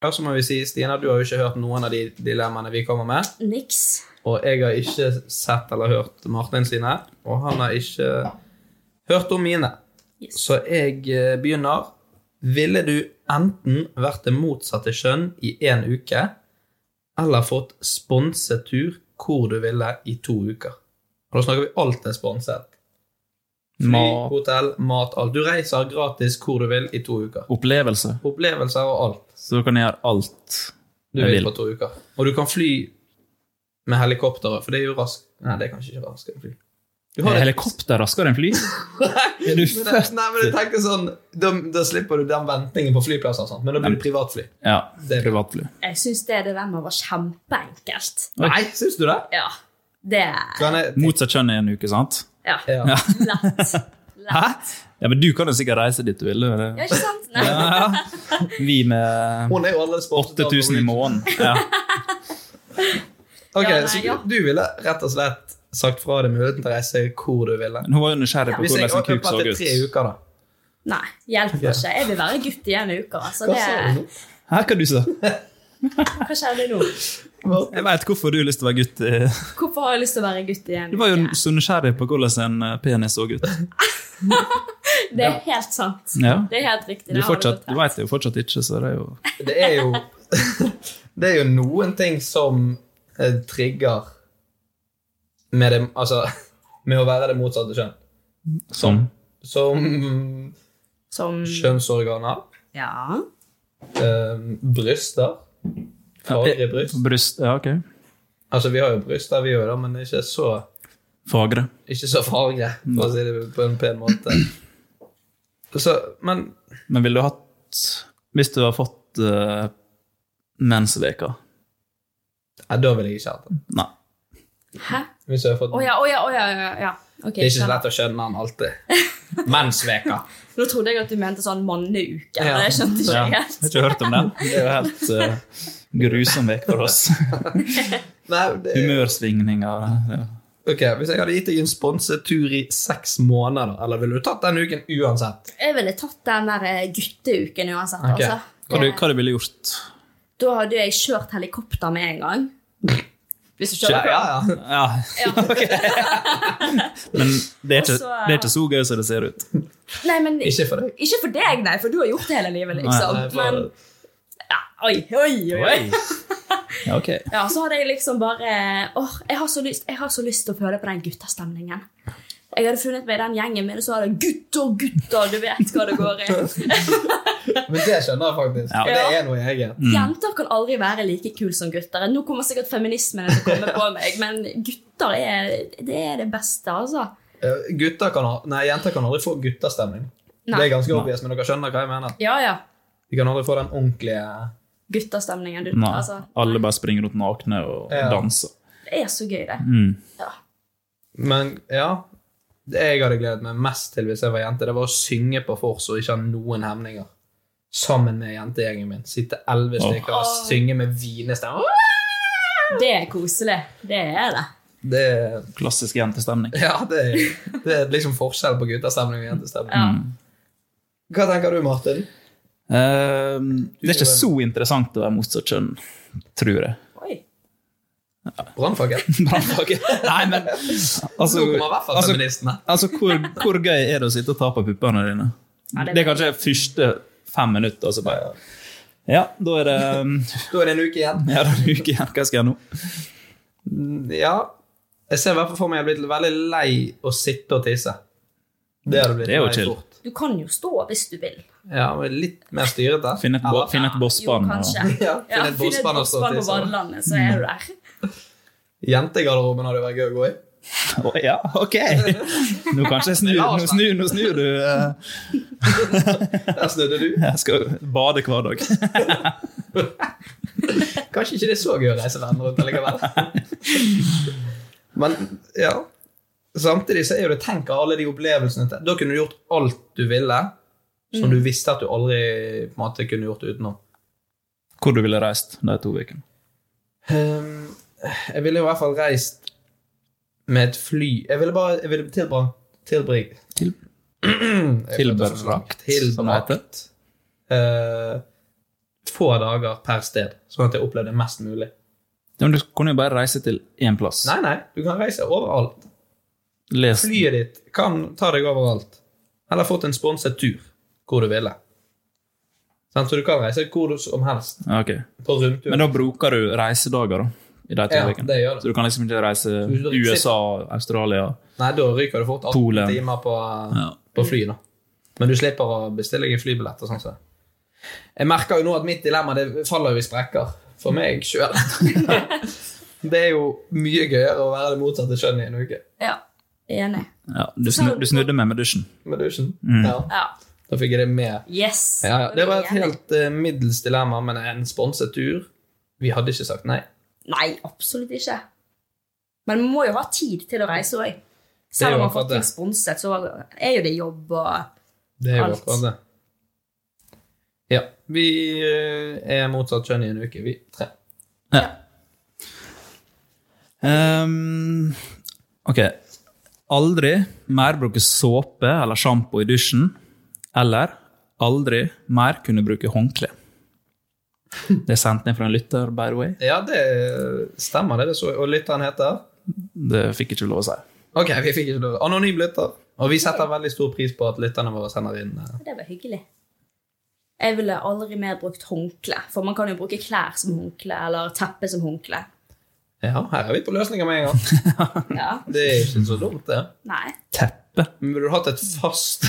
Speaker 1: Ja, så må vi si, Stina, du har jo ikke hørt noen av de dilemmaene vi kommer med.
Speaker 4: Niks.
Speaker 1: Og jeg har ikke sett eller hørt Martin sine, og han har ikke hørt om mine. Så jeg eh, begynner. Ville du enten vært det motsatte kjønn i én uke, eller fått sponset tur hvor du ville i to uker? Og da snakker vi alt er sponset. Fly,
Speaker 6: Mat.
Speaker 1: hotell, mat, alt. Du reiser gratis hvor du vil i to uker.
Speaker 6: Opplevelse.
Speaker 1: Opplevelser og alt.
Speaker 6: Så da kan jeg gjøre alt
Speaker 1: Du
Speaker 6: jeg
Speaker 1: vil
Speaker 6: vil.
Speaker 1: på to uker. Og du kan fly med helikopteret, for det er jo raskt. Nei, det er kanskje ikke raskere fly. Du har
Speaker 6: Er
Speaker 1: det-
Speaker 6: helikopter raskere enn fly?
Speaker 1: Er du men det, nei, men jeg tenkte sånn, da, da slipper du den ventingen på flyplasser og sånn, men da blir det privatfly.
Speaker 6: Ja. Privatfly.
Speaker 4: Jeg syns det dilemmaet var kjempeenkelt.
Speaker 1: Nei, syns du det?
Speaker 4: Ja. Det
Speaker 6: Motsatt kjønn i en uke, sant?
Speaker 4: Ja.
Speaker 6: Ja.
Speaker 4: Lett. Lett.
Speaker 6: Ja, men du kan jo sikkert reise dit du vil. du.
Speaker 4: Ja, ikke sant? Nei.
Speaker 6: Ja, ja. Vi med
Speaker 1: Hun er jo allerede sponset av
Speaker 6: 8000 i måneden. Ja.
Speaker 1: Ok,
Speaker 6: Ja, nei,
Speaker 1: Så
Speaker 6: ja.
Speaker 1: du, du ville rett og slett sagt fra deg muligheten til å reise hvor du ville?
Speaker 6: Men hun var jo nysgjerrig på
Speaker 1: Hvis jeg
Speaker 6: hvordan en kuk
Speaker 1: åpner
Speaker 6: så
Speaker 1: til
Speaker 6: ut.
Speaker 1: tre uker, da.
Speaker 4: Nei, hjelper
Speaker 6: Ja.
Speaker 4: ikke. Jeg vil være gutt i en uke. Altså,
Speaker 6: Hva
Speaker 4: det...
Speaker 6: sa du Hæ, hva du sa
Speaker 4: Hva skjedde nå?
Speaker 6: Jeg veit hvorfor du har lyst til å være gutt. eh.
Speaker 4: Hvorfor har jeg lyst til å være gutt igjen?
Speaker 6: Du var jo så nysgjerrig på hvordan en eh, penis så ut.
Speaker 4: Det er helt sant.
Speaker 6: Ja.
Speaker 4: Det er helt
Speaker 6: Du,
Speaker 4: riktig. det har du
Speaker 6: fortsatt, du veit det jo fortsatt ikke, så det er jo
Speaker 1: Det er jo Det er jo noen ting som eh, trigger med det Altså med å være det motsatte kjønn.
Speaker 6: Som?
Speaker 1: Som,
Speaker 4: Som
Speaker 1: kjønnsorganer.
Speaker 4: Ja.
Speaker 1: Ehm, bryster.
Speaker 6: eh,
Speaker 1: Fagre bryst.
Speaker 2: Bryst, ja, ok.
Speaker 1: Altså, vi har jo bryster, vi òg, men ikke så
Speaker 2: Fagre.
Speaker 1: Ikke så farge, for å si det på en pen måte. Så, men
Speaker 2: Men ville du hatt Hvis du har fått
Speaker 6: eh,
Speaker 2: uh, mensveka
Speaker 1: Nei, da ville jeg ikke hatt det.
Speaker 2: Nei.
Speaker 4: Hæ?
Speaker 1: Hvis jeg har fått
Speaker 4: Å ja, å ja, å ja. ja, ja. Ok,
Speaker 1: Det er ikke så
Speaker 4: skjønner.
Speaker 1: lett å skjønne den alltid. Mensveka.
Speaker 4: Nå trodde jeg at du mente sånn manneuke.
Speaker 2: Ja.
Speaker 4: men Jeg skjønte ikke
Speaker 2: Ja.
Speaker 4: helt.
Speaker 2: Jeg har ikke hørt om den. Det er jo helt eh, grusom vek for oss. Humørsvingninger. Ja.
Speaker 1: Ok, Hvis jeg hadde gitt deg en sponset tur i seks måneder, eller ville du tatt den uken uansett?
Speaker 4: Jeg ville tatt den der eh, gutteuken uansett.
Speaker 1: Ok.
Speaker 4: Altså.
Speaker 2: Hva, du, hva du ville gjort?
Speaker 4: Da hadde jeg kjørt helikopter med en gang. Hvis du skjønner.
Speaker 2: ja. Men det er, ikke,
Speaker 4: Også, eh,
Speaker 2: det er ikke så gøy som det ser ut.
Speaker 4: Nei, men,
Speaker 2: Ikke for deg.
Speaker 4: Ikke for deg, nei, for du har gjort det hele livet, liksom.
Speaker 2: Nei, for-
Speaker 4: men, ja, oi, oi, oi.
Speaker 2: Oi.
Speaker 4: oi.
Speaker 2: Ja, ok.
Speaker 4: Ja, så hadde jeg liksom bare Åh, jeg har så lyst, jeg har så lyst til å føle på den guttastemningen. Jeg hadde funnet meg i den gjengen min, og så hadde jeg gutter, gutter, du vet hva det går i.
Speaker 1: Men det skjønner jeg faktisk.
Speaker 4: Ja.
Speaker 1: Det er noe
Speaker 2: Mm.
Speaker 1: eget.
Speaker 4: Jenter kan aldri være like kul som gutter. Nå kommer sikkert feminismen til å komme på meg, men gutter er det, er det beste, altså.
Speaker 1: Eh, Gutter kan ha, nei, jenter kan aldri få guttastemning.
Speaker 4: Nei.
Speaker 1: Det er ganske obvious, men dere skjønner hva jeg mener.
Speaker 4: Ja, ja.
Speaker 1: De kan aldri få den ordentlige
Speaker 4: Guttastemningen. Du,
Speaker 2: Nei.
Speaker 4: altså,
Speaker 2: Alle bare springer rundt nakne og
Speaker 1: Ja.
Speaker 2: danser.
Speaker 4: det er så gøy, det.
Speaker 2: Mm.
Speaker 1: Men ja, det jeg hadde gledet meg mest til hvis jeg var jente, det var å synge på vors og ikke ha noen hemninger. Sammen med jentegjengen min. Sitte elleve
Speaker 2: Åh.
Speaker 1: stykker og synge med hvinestemme.
Speaker 4: Det er koselig. Det er det.
Speaker 1: Det er
Speaker 2: Klassisk jentestemning.
Speaker 1: Ja, det er, det er liksom forskjell på guttastemning og jentestemning.
Speaker 2: Mm.
Speaker 1: Hva tenker du, Martin?
Speaker 2: Eh, det er ikke så interessant å være motsatt kjønn, tror jeg.
Speaker 1: Brannfakkel?
Speaker 2: Nei, men altså,
Speaker 1: Nå kommer i hvert fall
Speaker 2: altså,
Speaker 1: feministene.
Speaker 2: altså hvor, hvor gøy er det å sitte og ta på puppene dine?
Speaker 1: Ja,
Speaker 2: det,
Speaker 1: det er
Speaker 2: er kanskje første fem minutter, og så bare Ja, da er det um,
Speaker 1: Da er det en uke igjen. Mm,
Speaker 2: Ja, da er det en uke igjen. Hva skal jeg nå?
Speaker 1: Ja. Jeg ser i hvert fall for meg jeg er blitt veldig lei å sitte og tisse. Det er, blitt
Speaker 2: Det er jo
Speaker 1: lei
Speaker 2: chill.
Speaker 1: fort.
Speaker 4: Du kan jo stå hvis du vil.
Speaker 1: Ja, men litt mer styrete.
Speaker 2: Finn et, bo, finn et bossband. og-
Speaker 4: Kanskje.
Speaker 1: Ja, finn et bossband og stå
Speaker 4: bossband
Speaker 1: til,
Speaker 4: på
Speaker 1: så-
Speaker 4: badelandet, så er du der.
Speaker 1: Jentegarderoben hadde vært gøy å gå i.
Speaker 2: Å, ja, ok! Nå kanskje jeg snur, nå snur, nå snur du. eh.
Speaker 1: Der snudde du.
Speaker 2: Jeg skal bade hver dag.
Speaker 1: Kanskje ikke det er så gøy å reise verden rundt allikevel. Men ja Samtidig så er jo det tenk av alle de opplevelsene til Da kunne du gjort alt du ville, som
Speaker 2: Mm.
Speaker 1: du visste at du aldri på en måte kunne gjort utenom.
Speaker 2: Hvor du ville reist de to ukene?
Speaker 1: Ehm, jeg ville i hvert fall reist med et fly Jeg ville bare jeg ville tilbrakt tilbring,
Speaker 2: Til,
Speaker 1: tilbrakt,
Speaker 2: som det heter.
Speaker 1: eh, få dager per sted, sånn at jeg opplevde mest mulig.
Speaker 2: Ja, men du kunne jo bare reise til én plass.
Speaker 1: Nei, nei, du kan reise overalt.
Speaker 2: Les.
Speaker 1: Flyet ditt kan ta deg overalt. Eller fått en sponset tur hvor du ville. Sant, Så du kan reise hvor du som helst.
Speaker 2: Ja, ok.
Speaker 1: På rundtur.
Speaker 2: Men da bruker du reisedager, da? I de to
Speaker 1: Ja,
Speaker 2: ukene.
Speaker 1: det gjør det.
Speaker 2: Så du kan liksom ikke reise
Speaker 1: du sitter-
Speaker 2: USA, Australia
Speaker 1: Nei, da ryker du fort 18
Speaker 2: Polen.
Speaker 1: timer på,
Speaker 2: Ja.
Speaker 1: på fly, da. Men du slipper å bestille deg en flybillett og sånn. Så. Jeg merker jo nå at mitt dilemma det faller jo i sprekker. For meg sjøl. det er jo mye gøyere å være det motsatte kjønn i en uke.
Speaker 4: Ja, enig.
Speaker 2: ja, du, snu, du snudde meg med dusjen.
Speaker 1: Med dusjen.
Speaker 2: Mm.
Speaker 1: Ja.
Speaker 4: Ja.
Speaker 1: Da fikk jeg det med.
Speaker 4: Yes.
Speaker 1: Ja, ja. Det var et
Speaker 4: Enig.
Speaker 1: helt eh, middels dilemma, men en sponset tur Vi hadde ikke sagt nei.
Speaker 4: Nei, absolutt ikke. Men man må jo ha tid til å reise òg.
Speaker 1: Det er
Speaker 4: Selv
Speaker 1: jo
Speaker 4: om man
Speaker 1: akkurat
Speaker 4: har fått
Speaker 1: det.
Speaker 4: ting sponset, så er jo det jobb og
Speaker 1: Det er jo
Speaker 4: Alt.
Speaker 1: akkurat det. Ja. Vi eh, er motsatt kjønn i en uke, vi tre.
Speaker 2: Ehm, ok. Aldri mer bruke såpe eller sjampo i dusjen. Eller aldri mer kunne bruke håndkle. Det er sendt ned fra en lytter, by the way.
Speaker 1: Ja, det stemmer, det. det så, og lytteren heter
Speaker 2: Det fikk jeg ikke lov å si.
Speaker 1: Ok, vi fikk ikke lov. Anonym lytter. Og vi setter veldig stor pris på at lytterne våre sender inn eh,
Speaker 4: Det var hyggelig. Jeg ville aldri mer brukt håndkle, for man kan jo bruke klær som håndkle eller teppe som håndkle.
Speaker 1: Ja, her er vi på løsninger med en gang.
Speaker 4: Ja,
Speaker 1: Det er ikke så dumt, det.
Speaker 4: nei.
Speaker 1: Teppe. Men burde du hatt et fast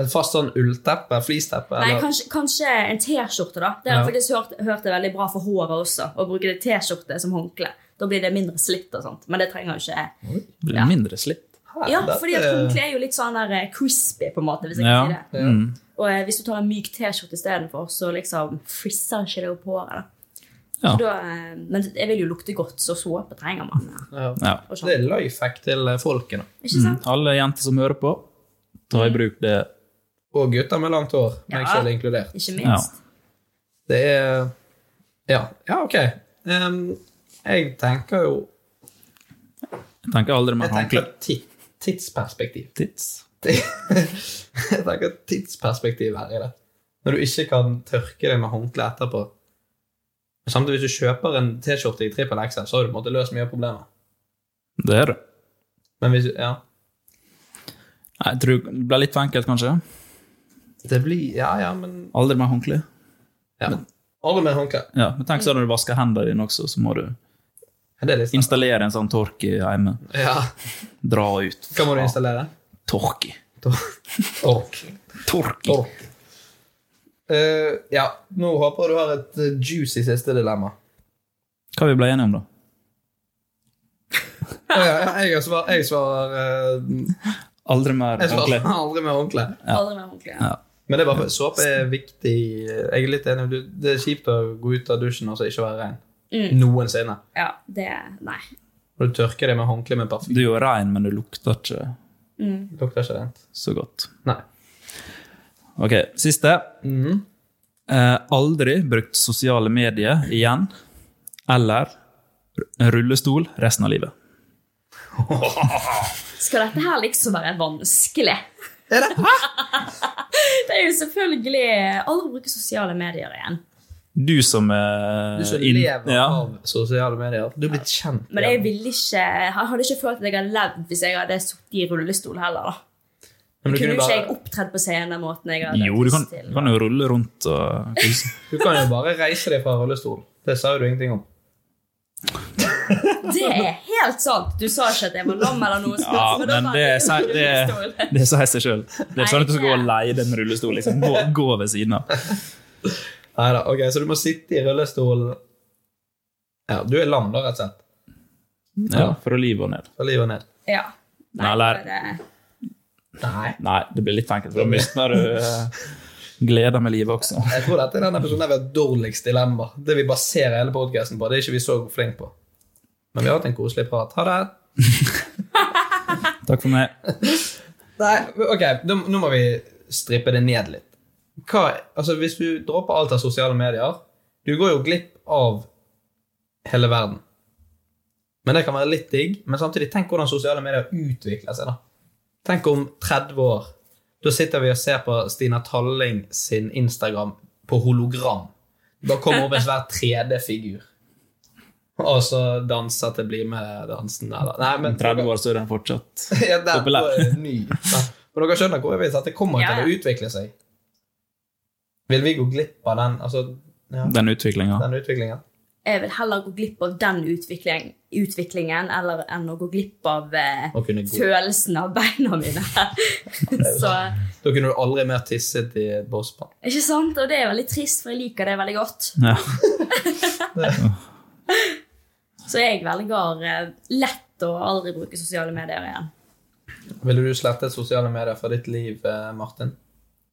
Speaker 1: Et fast sånn ullteppe? Flisteppe?
Speaker 4: Nei,
Speaker 1: eller-
Speaker 4: kanskje, kanskje en T-skjorte, da. Det har jeg
Speaker 1: Ja.
Speaker 4: faktisk hørt, hørt er veldig bra for håret også. Å bruke det T-skjorte som håndkle. Da blir det mindre slitt og sånt. Men det trenger jo ikke jeg.
Speaker 2: Blir det mindre slitt?
Speaker 4: Ja,
Speaker 2: dette-
Speaker 4: fordi at håndkle er jo litt sånn der eh, crispy, på en måte, hvis jeg
Speaker 2: Ja.
Speaker 4: kan si det.
Speaker 2: Mm.
Speaker 4: Og eh, hvis du tar en myk T-skjorte istedenfor, så liksom frisser ikke det opp håret. da.
Speaker 1: Ja.
Speaker 4: Så Da, eh, men jeg vil jo lukte godt, så såpe trenger man.
Speaker 1: Ja.
Speaker 2: Ja.
Speaker 4: sånn.
Speaker 1: Det er life hack til eh, folket. da.
Speaker 4: Ikke
Speaker 2: Mm.
Speaker 4: sant? Mm.
Speaker 2: Alle jenter som hører på, ta i bruk det.
Speaker 1: Og gutter med langt hår, meg
Speaker 4: Ja,
Speaker 1: selv inkludert.
Speaker 4: ikke minst.
Speaker 1: Det er Ja, ja ok. Em, jeg tenker jo
Speaker 2: Jeg tenker aldri mer
Speaker 1: Jeg tenker
Speaker 2: håndkle.
Speaker 1: ti- tidsperspektiv.
Speaker 2: Tits.
Speaker 1: Jeg tenker tidsperspektiv her i det. Når du ikke kan tørke deg med håndkle etterpå. Men Samtidig hvis du kjøper en T-skjorte i trippel XL, så har du på en måte løst mye av problemet.
Speaker 2: Det er det.
Speaker 1: Men hvis, ja.
Speaker 2: Nei, Jeg tror det ble litt for enkelt, kanskje.
Speaker 1: Det blir Ja, ja, men
Speaker 2: Aldri mer håndkle.
Speaker 1: ja. Alle med håndkle.
Speaker 2: Ja, men tenk så når du vasker hendene dine også, så må du installere en sånn tork i hjemme.
Speaker 1: Ja.
Speaker 2: Dra ut.
Speaker 1: Hva må du installere?
Speaker 2: Torki.
Speaker 1: Tork.
Speaker 2: Tork.
Speaker 1: Eh, ja, nå håper jeg du har et eh, juicy siste dilemma.
Speaker 2: Hva vi ble enige om, da?
Speaker 1: Å ja, ja, jeg svarer, jeg svarer eh,
Speaker 2: Aldri mer
Speaker 1: Jeg svarer
Speaker 2: håndkle.
Speaker 1: aldri med håndkle.
Speaker 2: Ja.
Speaker 4: Aldri med håndkle.
Speaker 2: Ja.
Speaker 1: Men det er bare, såpe er viktig. Jeg er litt enig. Du- Det er kjipt å gå ut av dusjen og så ikke være ren.
Speaker 4: Mm.
Speaker 1: Noensinne.
Speaker 4: Ja, det Nei.
Speaker 1: Og du tørker det med håndkle med parfyme.
Speaker 2: Du er jo rein, men du lukter ikke
Speaker 4: Mm.
Speaker 1: Lukter ikke rent.
Speaker 2: så godt.
Speaker 1: Nei.
Speaker 2: Ok, siste. Eh, aldri brukt sosiale medier igjen. Eller en rullestol resten av livet.
Speaker 4: Skal dette her liksom være vanskelig? Er det? det er jo selvfølgelig Aldri bruke sosiale medier igjen.
Speaker 2: Du som er
Speaker 1: Du som
Speaker 2: inn-
Speaker 1: lever
Speaker 2: ja.
Speaker 1: av sosiale medier. Du er blitt kjent.
Speaker 4: Men jeg ville ikke Jeg hadde ikke følt at jeg hadde levd hvis jeg hadde sittet i rullestol heller. da.
Speaker 1: Men du
Speaker 4: kunne
Speaker 1: kunne
Speaker 4: jo ikke
Speaker 1: bare-
Speaker 4: jeg opptredd på scenen den måten jeg hadde
Speaker 2: Jo, du kan,
Speaker 4: lyst til.
Speaker 2: du kan jo rulle rundt og kose.
Speaker 1: Du kan jo bare reise deg fra rullestol. Det sa jo du ingenting om.
Speaker 4: Det er helt sant! Du sa ikke at jeg var lam eller noe. sånt,
Speaker 2: Ja,
Speaker 4: men da
Speaker 2: men
Speaker 4: var
Speaker 2: det
Speaker 4: jeg
Speaker 2: er
Speaker 4: i
Speaker 2: seg-
Speaker 4: rullestol.
Speaker 2: det- det sier seg sjøl. Det er sånn at du skal gå og leie den rullestolen. Liksom. Gå, gå ved siden av.
Speaker 1: Neida, ok, Så du må sitte i rullestol Ja, du er lam, da, rett og slett.
Speaker 2: Ja, for å live og ned.
Speaker 1: Fra livet ned.
Speaker 4: Ja.
Speaker 2: Nei, eller
Speaker 4: det-
Speaker 1: Nei.
Speaker 2: Nei, det blir litt for enkelt. for Da mister du eh, gleden med livet også.
Speaker 1: Jeg tror dette er den episoden der vi har dårligst dilemma. Det vi baserer hele podcasten på. Det er ikke vi så flinke på. Men vi har hatt en koselig prat. Ha det.
Speaker 2: Takk for meg.
Speaker 1: Nei, ok, nå, nå må vi strippe det ned litt. Hva, altså Hvis du dropper alt av sosiale medier Du går jo glipp av hele verden. Men det kan være litt digg. Men samtidig, tenk hvordan sosiale medier utvikler seg. da. Tenk om 30 år. Da sitter vi og ser på Stina Talling sin Instagram på hologram. Da kommer opp en svær 3D-figur. Og så danser til Bli med-dansen. eller- Nei,
Speaker 2: Om
Speaker 1: men
Speaker 2: 30 år så er den fortsatt
Speaker 1: ja, der
Speaker 2: populær.
Speaker 1: var det ny. Ja. Men dere skjønner hvor jeg vil, så at det kommer
Speaker 4: Ja, ja.
Speaker 1: til å utvikle seg. Vil vi gå glipp av den, altså, ja,
Speaker 2: Den utviklinga.
Speaker 1: den utviklingen?
Speaker 4: Jeg vil heller gå glipp av den utviklingen, utviklingen eller enn å gå glipp av eh,
Speaker 1: Å kunne gå.
Speaker 4: følelsen av beina mine. Så,
Speaker 1: Da kunne du aldri mer tisset i et bosspann.
Speaker 4: ikke sant? Og det er veldig trist, for jeg liker det veldig godt.
Speaker 2: Ja.
Speaker 4: Så jeg velger eh, lett å aldri bruke sosiale medier igjen.
Speaker 1: Ville du slettet sosiale medier fra ditt liv, eh, Martin?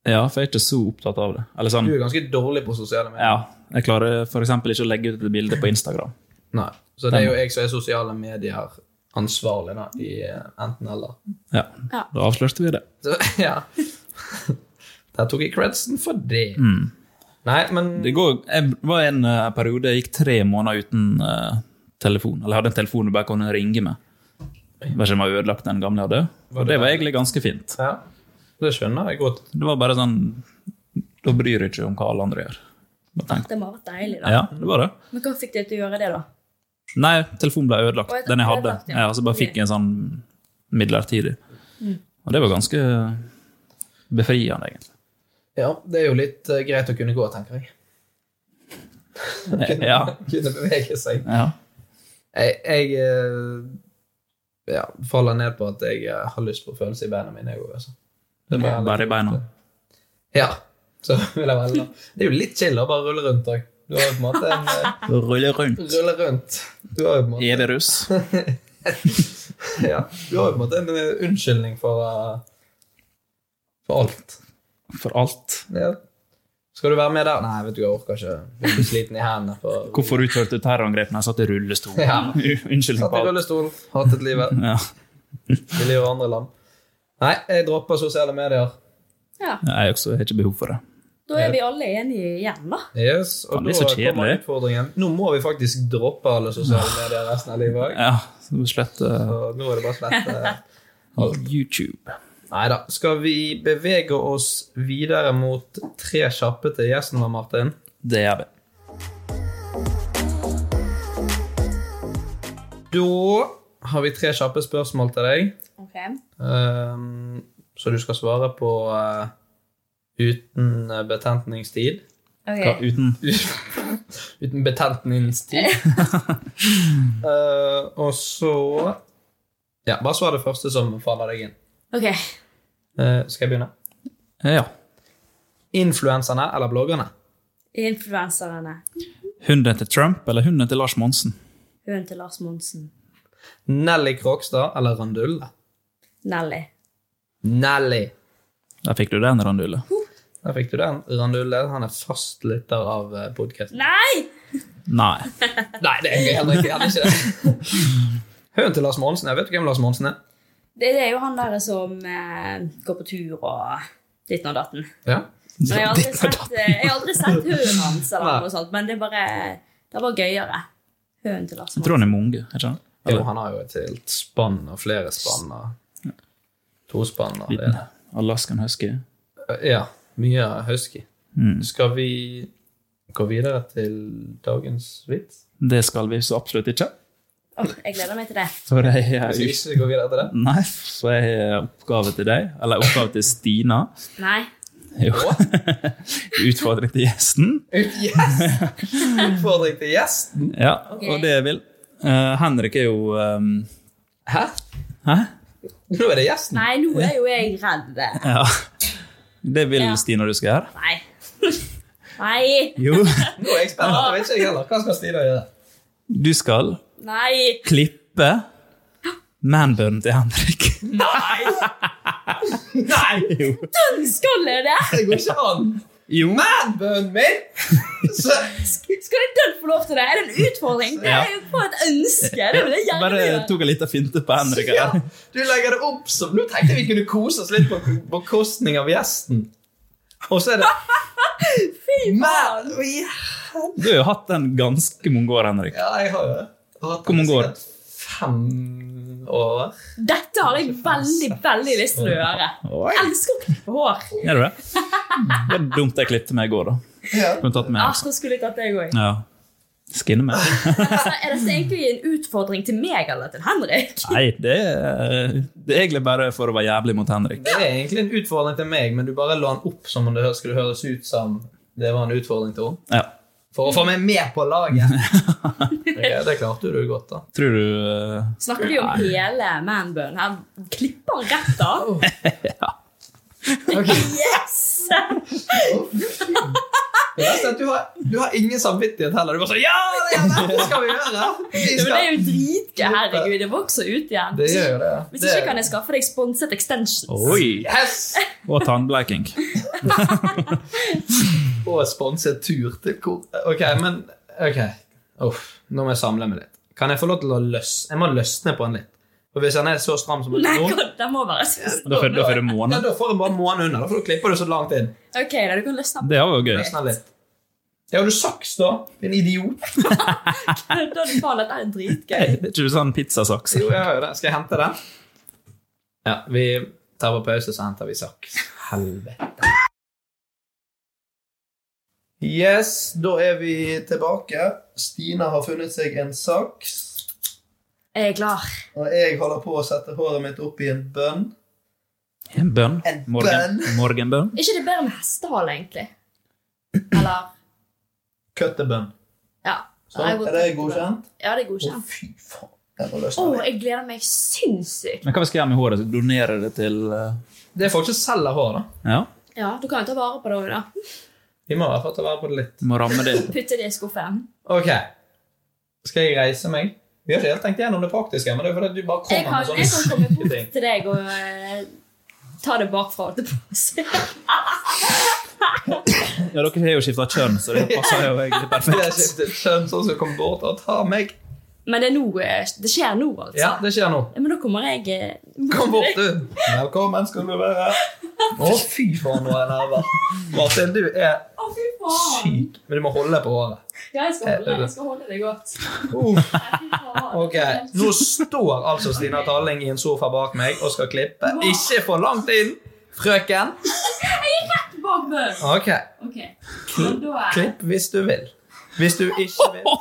Speaker 2: ja, for jeg er ikke så opptatt av det. Eller sånn,
Speaker 1: Du er ganske dårlig på sosiale medier.
Speaker 2: ja, Jeg klarer f.eks. ikke å legge ut et bilde på Instagram.
Speaker 1: Nei. Så det er jo jeg som er sosiale medier ansvarlig, da, i eh, enten eller.
Speaker 2: Ja,
Speaker 4: Ja.
Speaker 2: Da avslørte vi det.
Speaker 1: Så, ja. Der tok jeg credsen for det.
Speaker 2: Mm.
Speaker 1: Nei, men
Speaker 2: Det går, jeg var en eh, periode jeg gikk tre måneder uten eh, telefon. Eller jeg hadde en telefon du bare kunne ringe med. Bare ikke om jeg hadde ødelagt den gamle jeg hadde. Og det var egentlig ganske fint.
Speaker 1: Ja, det skjønner jeg godt.
Speaker 2: Det var bare sånn Da bryr jeg ikke om hva alle andre gjør. Bare tenk.
Speaker 4: Det må ha vært deilig, da.
Speaker 2: Ja, det var det.
Speaker 4: Men hva fikk deg til å gjøre det, da?
Speaker 2: Nei, telefonen ble ødelagt.
Speaker 4: Å, jeg-
Speaker 2: Den jeg hadde.
Speaker 4: ødelagt, ja.
Speaker 2: Ja, så bare fikk jeg en sånn midlertidig.
Speaker 4: Mm.
Speaker 2: Og det var ganske befriende, egentlig.
Speaker 1: Ja, det er jo litt eh, greit å kunne gå, tenker jeg.
Speaker 2: Ja.
Speaker 1: Kunne bevege seg.
Speaker 2: ja.
Speaker 1: Jeg, jeg eh, ja, faller ned på at jeg eh, har lyst på følelser i beina mine. Jeg, også.
Speaker 2: Det er bare i beina.
Speaker 1: Ja. Så vil jeg velge. Det er jo litt chill å bare rulle rundt òg. Du har jo på en måte en eh,
Speaker 2: Rulle rundt.
Speaker 1: Rulle rundt. Du har jo på en måte
Speaker 2: Evig russ.
Speaker 1: ja, Du har jo på en måte en eh, unnskyldning for eh, For alt.
Speaker 2: For alt.
Speaker 1: Ja. Skal du være med der? Nei, vet du, jeg orker ikke. Jeg blir sliten i hendene. For...
Speaker 2: Hvorfor utførte du terrorangrep når jeg satt i rullestol?
Speaker 1: Ja.
Speaker 2: Unnskyldning
Speaker 1: Satt i
Speaker 2: på alt.
Speaker 1: rullestol, hatet livet.
Speaker 2: Ja.
Speaker 1: Ville gjøre andre lam. Nei, jeg dropper sosiale medier.
Speaker 4: Ja.
Speaker 2: Jeg også har ikke behov for det.
Speaker 4: Da er vi alle enige igjen, da.
Speaker 1: Yes, og
Speaker 2: Faen, det er
Speaker 1: da
Speaker 2: så kjedelig.
Speaker 1: kommer utfordringen. Nå må vi faktisk droppe alle sosiale medier resten av livet. også.
Speaker 2: Ja, så må vi slette
Speaker 1: Så nå er det bare slett eh,
Speaker 2: YouTube.
Speaker 1: Nei da. Skal vi bevege oss videre mot tre kjappe til gjesten vår, Martin?
Speaker 2: Det gjør vi.
Speaker 1: Da har vi tre kjappe spørsmål til deg,
Speaker 4: Ok.
Speaker 1: ehm, så du skal svare på eh, uten eh, betentningstid.
Speaker 4: Ok.
Speaker 2: Hva, uten
Speaker 1: Uten betentningstid. Eh, og så Ja, bare svar det første som faller deg inn.
Speaker 4: Ok.
Speaker 1: Eh, skal jeg begynne?
Speaker 2: Eh, Ja.
Speaker 1: Influenserne eller bloggerne?
Speaker 4: Influenserne.
Speaker 2: Hunden til Trump eller hunden til Lars Monsen?
Speaker 4: Hun til Lars Monsen.
Speaker 1: Nelly Krokstad eller Randulle?
Speaker 4: Nelly.
Speaker 1: Nelly.
Speaker 2: Der fikk du den, Randulle.
Speaker 1: Der fikk du den. Randulle han er fast lytter av eh, podkasten.
Speaker 4: Nei!
Speaker 2: Nei.
Speaker 1: Nei, det er jeg heller ikke. Han er ikke det. Høren til Lars Monsen. Jeg vet du hvem Lars Monsen er?
Speaker 4: Det, det er jo han der som eh, går på tur og ditten og datten.
Speaker 1: Ja.
Speaker 4: Så jeg har aldri sett, eh, jeg har aldri sett hønen hans, eller noe sånt, men det er bare det var gøyere. Hønen til Lars
Speaker 2: Jeg tror han er mange. ikke sant?
Speaker 1: Jo, han har jo et helt spann og flere spann. Og to spann og det.
Speaker 2: Alaskan husky.
Speaker 1: Ja. Mye husky.
Speaker 2: Mm.
Speaker 1: Skal vi gå videre til dagens vits?
Speaker 2: Det skal vi så absolutt ikke.
Speaker 4: Åh, jeg gleder meg til det.
Speaker 2: For jeg er
Speaker 1: Skal vi ikke gå videre til det?
Speaker 2: Nei, så jeg har oppgave til deg. Eller oppgave til Stina.
Speaker 4: Nei.
Speaker 2: Jo. Utfordring til gjesten.
Speaker 1: Yes! Utfordring til gjesten.
Speaker 2: Ja,
Speaker 1: Ok.
Speaker 2: og det jeg vil. Eh, Henrik er jo ehm,
Speaker 1: Hæ?
Speaker 2: Hæ?
Speaker 1: Nå er det gjesten.
Speaker 4: Nei, nå er jo jeg redd.
Speaker 2: Ja. Det vil
Speaker 4: Ja.
Speaker 2: Stina du skal gjøre.
Speaker 4: Nei. Nei.
Speaker 2: Jo.
Speaker 1: Nå er jeg spent. Jeg vet ikke jeg heller. Hva skal Stina gjøre?
Speaker 2: Du skal
Speaker 4: Nei.
Speaker 2: klippe manbunnen til Henrik.
Speaker 1: Nei!
Speaker 2: Jo.
Speaker 4: Den skal jeg det!
Speaker 1: Det går ikke an.
Speaker 2: jo.
Speaker 1: Manbunnen min! Så,
Speaker 4: Skal jeg den få lov til det? Er det en utfordring? Det er jo bare et ønske. Det er jo det jeg gjerne vil
Speaker 2: Bare
Speaker 4: gjøre.
Speaker 2: tok en liten finte på Henrik.
Speaker 1: ja,
Speaker 2: her.
Speaker 1: du legger det opp som Nå tenkte jeg vi kunne kose oss litt på bekostning av gjesten. Og så er det
Speaker 4: Fy
Speaker 1: Man!
Speaker 4: faen.
Speaker 1: Å, ja.
Speaker 2: Du har jo hatt den ganske mange år, Henrik.
Speaker 1: Ja, jeg har jo det. Jeg har hatt
Speaker 2: Hvor mange
Speaker 1: den
Speaker 2: år?
Speaker 1: sikkert Fem år.
Speaker 4: Dette har jeg veldig, veldig lyst til å gjøre.
Speaker 2: Oi.
Speaker 4: Jeg elsker å klippe hår.
Speaker 2: Gjør du det? Det var dumt jeg klippet meg i går, da. Kunne tatt med.
Speaker 4: Ah, så skulle jeg tatt deg òg.
Speaker 2: Ja. Skinne meg.
Speaker 4: Altså, er dette egentlig en utfordring til meg eller til Henrik?
Speaker 2: Nei, det er, det er egentlig bare for å være jævlig mot Henrik.
Speaker 1: Det er egentlig en utfordring til meg, men du bare la den opp som om det hø- skulle høres ut som det var en utfordring til henne.
Speaker 2: Ja.
Speaker 1: For å få meg med på laget. Ok, det klarte du godt, da.
Speaker 2: Tror du eh,
Speaker 4: Snakker vi om hele manbun? Her klipper han rett av. Yes!
Speaker 1: Det verste er at du har, du har ingen samvittighet heller. Du bare sånn Ja, det, er det, det skal vi gjøre! Vi
Speaker 4: Ja, Men det er
Speaker 1: skal.
Speaker 4: jo dritgøy. Herregud, det vokser ut igjen.
Speaker 1: Det gjør jo det.
Speaker 4: Hvis ikke kan jeg skaffe deg sponset extensions.
Speaker 2: Oi!
Speaker 1: Yes!
Speaker 2: Og tannbleiking.
Speaker 1: Og sponset tur til hvor Ok, men Ok. Uff, nå må jeg samle meg litt. Kan jeg få lov til å løsne? Jeg må løsne på den litt. For hvis den er så stram som den
Speaker 4: Nei,
Speaker 1: er nå
Speaker 4: god, det må være sist.
Speaker 2: Da får da får du
Speaker 1: ja,
Speaker 2: måne.
Speaker 1: Da får du bare månen under. Da får du klipper du så langt inn.
Speaker 4: Ok, da, du kan løsne opp.
Speaker 2: Det var jo gøy.
Speaker 1: Løsne litt. Ja, har du saks, da? Din idiot.
Speaker 4: Da er det faen, dette er
Speaker 2: Hey,
Speaker 4: dritgøy.
Speaker 2: det er ikke du sånn pizzasaks?
Speaker 1: Jo, jeg har jo det. Skal jeg hente den? Ja, vi tar på pause, så henter vi saks. Helvete. Yes, da er vi tilbake. Stina har funnet seg en saks.
Speaker 4: Jeg er klar.
Speaker 1: Og jeg holder på å sette håret mitt opp i en bønn.
Speaker 2: En bønn?
Speaker 1: En
Speaker 2: Morgen,
Speaker 1: bønn.
Speaker 2: morgenbønn?
Speaker 4: Er ikke det bedre med hestehale, egentlig? Eller
Speaker 1: Køttebønn.
Speaker 4: Ja.
Speaker 1: Sånn, er det godkjent?
Speaker 4: Ja, det er
Speaker 1: Å,
Speaker 4: godkjent.
Speaker 1: fy faen. Jeg må
Speaker 4: Å,
Speaker 1: løsne meg.
Speaker 4: jeg gleder meg sinnssykt.
Speaker 2: Men hva vi skal gjøre med håret? Donere det til eh,
Speaker 1: Det er folk som selger hår, da.
Speaker 2: Ja.
Speaker 4: Ja, Du kan jo ta vare på det òg, da.
Speaker 1: Vi må i hvert fall ta vare på det litt.
Speaker 2: Må ramme det.
Speaker 4: Putte det i skuffen.
Speaker 1: Ok. Skal jeg reise meg? Vi har ikke helt tenkt gjennom det praktiske, men det er fordi at du bare
Speaker 4: Jeg
Speaker 1: kommer
Speaker 4: kan,
Speaker 1: med
Speaker 4: jeg
Speaker 1: sånne
Speaker 4: kan komme
Speaker 1: syke ting.
Speaker 4: bort til deg og eh, ta det bakfra. holdt jeg på å si.
Speaker 2: Ja, dere har jo skifta kjønn, så det passer jo egentlig
Speaker 1: Det er
Speaker 2: perfekt.
Speaker 1: skiftet kjønn, sånn som kommer bort og tar meg.
Speaker 4: Men det, er nå, eh, det skjer nå, altså.
Speaker 1: Ja, det skjer nå.
Speaker 4: Ja, Men da kommer jeg eh,
Speaker 1: Kom bort, du. Velkommen skal du være. Å, fy faen, nå er jeg nerver. Martin, du er
Speaker 4: Å, fy faen!
Speaker 1: syk, men du må holde deg på håret.
Speaker 4: Ja,
Speaker 2: Eh,
Speaker 4: jeg skal holde, jeg skal holde det godt.
Speaker 1: Uff. Ok, Nå står altså Stina Talling i en sofa bak meg og skal klippe. Ikke for langt inn, frøken.
Speaker 4: Jeg gikk rett bak døren.
Speaker 1: Ok,
Speaker 4: Ok, men da er
Speaker 1: Klipp hvis du vil. Hvis du ikke vil.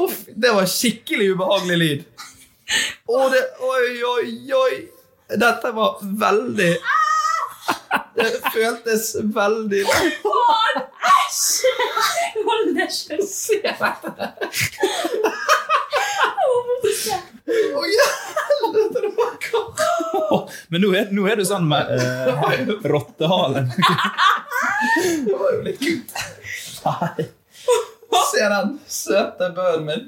Speaker 1: Uff, det var skikkelig ubehagelig lyd. Å, det, oi, oi, oi. Dette var veldig Det føltes veldig
Speaker 4: Faen! Æsj! Hold deg sjøl. Se
Speaker 1: Å, helvete, det var
Speaker 2: Men nå er, nå er du sånn med eh, rottehalen.
Speaker 1: Det var jo litt kult. Nei. Se den søte bønnen min.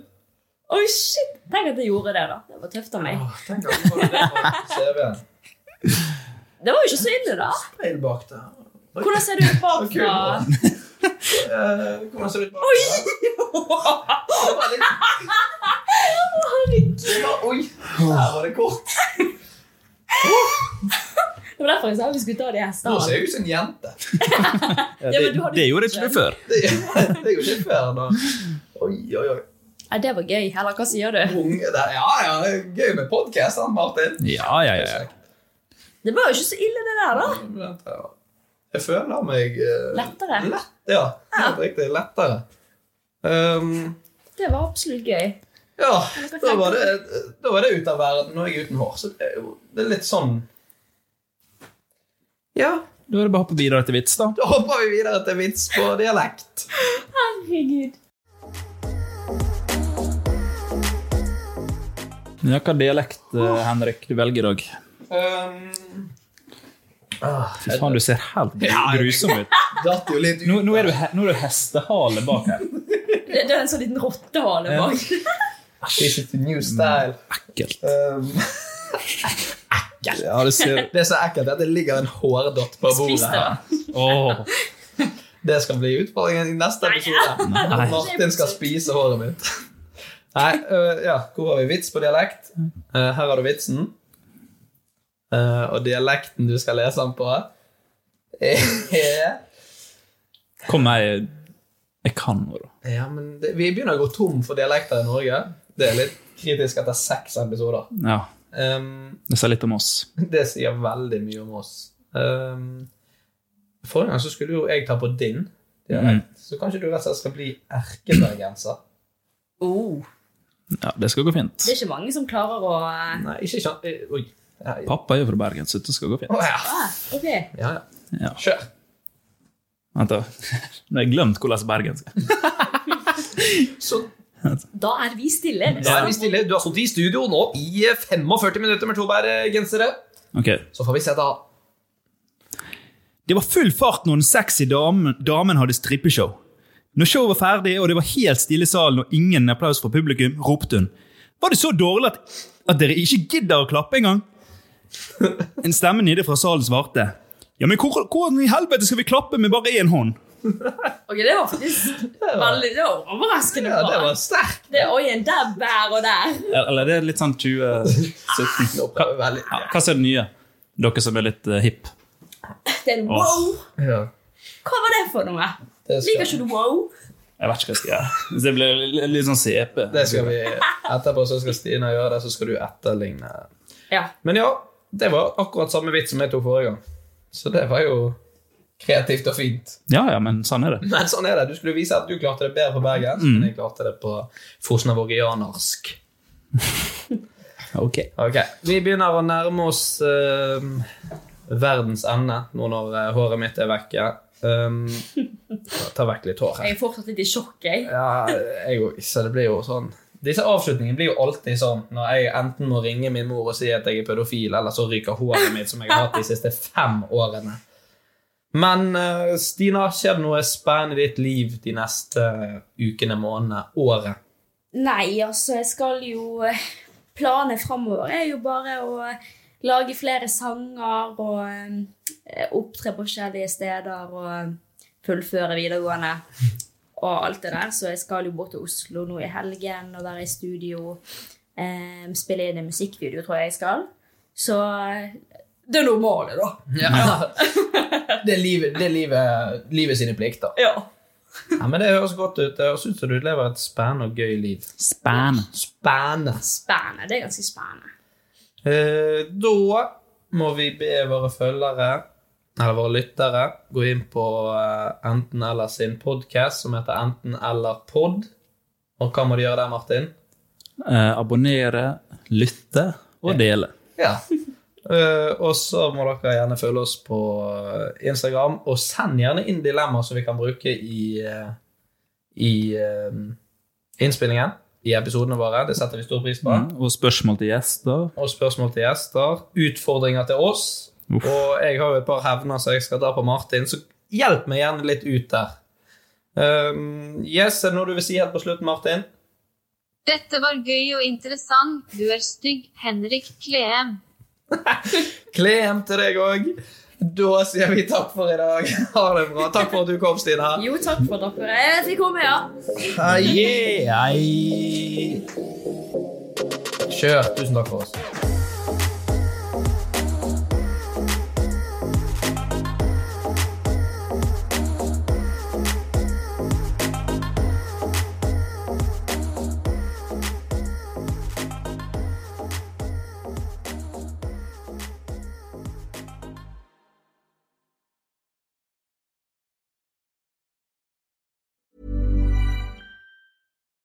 Speaker 4: Oi, shit! Tenk at jeg gjorde det, da. Det var tøft av meg.
Speaker 1: Tenk at du får det på CV-en.
Speaker 4: Det var jo ikke så ille, da.
Speaker 1: Speil bak der.
Speaker 4: Hvordan ser du ut bakfra?
Speaker 1: Eh, Hvordan ser det ut bak der? Det var litt
Speaker 4: Herregud.
Speaker 1: det var- Oi, her var det kort.
Speaker 4: Det var derfor jeg sa vi skulle ta det i hesten.
Speaker 1: Nå ser jeg ut som en jente.
Speaker 4: Ja, men du hadde
Speaker 2: Det gjorde ikke du før.
Speaker 1: Det det er jo ikke fair, da. Oi, oi, oi.
Speaker 4: Ja, det var gøy. Eller hva sier du?
Speaker 1: Unge der. Ja, ja, det er gøy med podkast, Martin.
Speaker 2: Ja, ja, ja.
Speaker 4: Det var jo ikke så ille, det der, da.
Speaker 1: Jeg føler meg eh,
Speaker 4: Lettere.
Speaker 1: Ja, helt riktig. Lettere. Um,
Speaker 4: Det var absolutt gøy.
Speaker 1: ja, da var, det, da var det ut av verden. Nå er jeg uten hår, så det er jo det er litt sånn Ja.
Speaker 2: Da er det bare å hoppe videre til vits, da.
Speaker 1: Da hopper vi videre til vits på dialekt.
Speaker 4: Herregud.
Speaker 2: Ja, hva dialekt, eh, Henrik, du velger i dag?
Speaker 1: Um,
Speaker 2: Fy faen, du ser helt grusom ut.
Speaker 1: Datt jo litt ut.
Speaker 2: Nå, nå er du, he- nå er du hestehale bak her.
Speaker 4: Det, det er en sånn liten rottehale
Speaker 2: Ja.
Speaker 4: bak.
Speaker 1: This is the new style.
Speaker 2: Mm, Ekkelt.
Speaker 1: Um,
Speaker 2: Ja, det ser
Speaker 1: det er så ekkelt at det ligger en hårdott på bordet
Speaker 4: Spis det,
Speaker 1: her.
Speaker 2: Åh.
Speaker 1: Det skal bli utfordringen i neste episode.
Speaker 2: Nei.
Speaker 1: Martin skal spise håret mitt. Nei, øh, ja, hvor har vi vits på dialekt? Eh, her har du vitsen. Eh, og dialekten du skal lese den på, er
Speaker 2: Kom, jeg Jeg kan nå, da.
Speaker 1: Ja, men det, vi begynner å gå tom for dialekter i Norge. Det er litt kritisk etter seks episoder.
Speaker 2: Ja.
Speaker 1: Ehm,
Speaker 2: Det sier litt om oss.
Speaker 1: det sier veldig mye om oss. Ehm, forrige gang så skulle jo jeg ta på din
Speaker 2: Mm.
Speaker 1: dialekt, så kanskje du rett og slett skal bli erkebergenser.
Speaker 4: Oh.
Speaker 2: Ja, Det skal gå fint.
Speaker 4: Det er ikke mange som klarer å
Speaker 1: Nei, ikke kjan... eh, Oi. Ja, ja.
Speaker 2: Pappa er jo fra Bergen, så det skal gå fint.
Speaker 1: Å, ja.
Speaker 4: ah, Ok.
Speaker 1: Ja, ja.
Speaker 2: Ja.
Speaker 1: Kjør.
Speaker 2: Vent, da. Nå har jeg glemt hvordan bergensk er.
Speaker 1: Så
Speaker 4: Da er vi stille.
Speaker 1: da er vi stille. Du har sittet i studio nå i 45 minutter med to bærgensere.
Speaker 2: Ok.
Speaker 1: Så får vi se, da.
Speaker 2: Det var full fart når den sexy damen, damen hadde strippeshow. Når showet var ferdig og det var helt stille i salen og ingen applaus fra publikum, ropte hun. Var det så dårlig at, at dere ikke gidder å klappe engang? En stemme nede fra salen svarte. Ja, men hvor- hvordan i helvete skal vi klappe med bare én hånd?
Speaker 4: Ok, Det var faktisk veldig det var overraskende
Speaker 1: Ja, det
Speaker 4: bra.
Speaker 1: var sterkt.
Speaker 4: Det er oi, en dab her og der.
Speaker 2: Eller det er litt sånn 2017.
Speaker 1: Nå prøver jeg veldig.
Speaker 2: Ja, hva er det nye? Dere som er litt eh, hipp.
Speaker 4: Det er en wow.
Speaker 1: Ja.
Speaker 4: Hva var det for noe?
Speaker 1: Det skal,
Speaker 4: Liker ikke du wow?
Speaker 2: Jeg vet ikke hva jeg skal gjøre. Det blir li- litt sånn CP.
Speaker 1: det skal vi Etterpå så skal Stina gjøre det, så skal du etterligne.
Speaker 4: Ja.
Speaker 1: Men ja, det var akkurat samme vits som jeg tok forrige gang. Så det var jo kreativt og fint.
Speaker 2: Ja, ja, men sånn er det.
Speaker 1: Men sånn er det. Du skulle vise at du klarte det bedre på bergensk, men jeg klarte det på fosnavågianarsk.
Speaker 2: Ok.
Speaker 1: Ok, Vi begynner å nærme oss ehm, verdens ende nå når eh, håret mitt er vekke. Um, ta vekk litt hår her.
Speaker 4: Jeg er fortsatt litt i sjokk, jeg.
Speaker 1: Ja, jeg òg. Så det blir jo sånn Disse avslutningene blir jo alltid sånn når jeg enten må ringe min mor og si at jeg er pedofil, eller så ryker håret mitt, som jeg har hatt de siste fem årene. Men eh, Stina, skjer det noe spennende i ditt liv de neste eh, ukene, månedene, året?
Speaker 4: Nei, altså, jeg skal jo Planene framover er jo bare å lage flere sanger og eh, opptre på forskjellige steder og fullføre videregående og alt det der. Så jeg skal jo bort til Oslo nå i helgen og være i studio. eh, spille inn en musikkvideo, tror jeg jeg skal. Så eh, det er normale, da.
Speaker 1: Det er livet, det er livet, livet sine plikter.
Speaker 4: Ja.
Speaker 1: men Det høres godt ut. Det høres ut som du lever et spennende og gøy liv.
Speaker 7: Spennende.
Speaker 1: Spennende.
Speaker 4: Spennende. Det er ganske spennende.
Speaker 1: Eh, da må vi be våre følgere, eller våre lyttere, gå inn på eh, Enten eller sin podkast, som heter Enten eller pod. Og hva må de gjøre der, Martin?
Speaker 7: Eh, abonnere, lytte og dele.
Speaker 1: Ja. Eh, og så må dere gjerne følge oss på eh, Instagram, og send gjerne inn dilemmaer som vi kan bruke i, eh, i eh, innspillingen. I episodene våre. Det setter vi stor pris på.
Speaker 7: Mm, Og spørsmål til gjester.
Speaker 1: Og spørsmål til gjester. Utfordringer til oss.
Speaker 7: Uff.
Speaker 1: Og jeg har jo et par hevner som jeg skal ta på Martin, så hjelp meg gjerne litt ut der. Um, yes, er det noe du vil si helt på slutten, Martin?
Speaker 8: Dette var gøy og interessant. Du er stygg, Henrik Kleem.
Speaker 1: Kle hjem til deg òg. Da sier vi takk for i dag. Ha det bra. Takk for at du kom, Stina.
Speaker 4: Jo, takk for dere. Jeg fikk komme, ja.
Speaker 1: Ah, yeah. Ai. Kjør. Tusen takk for oss.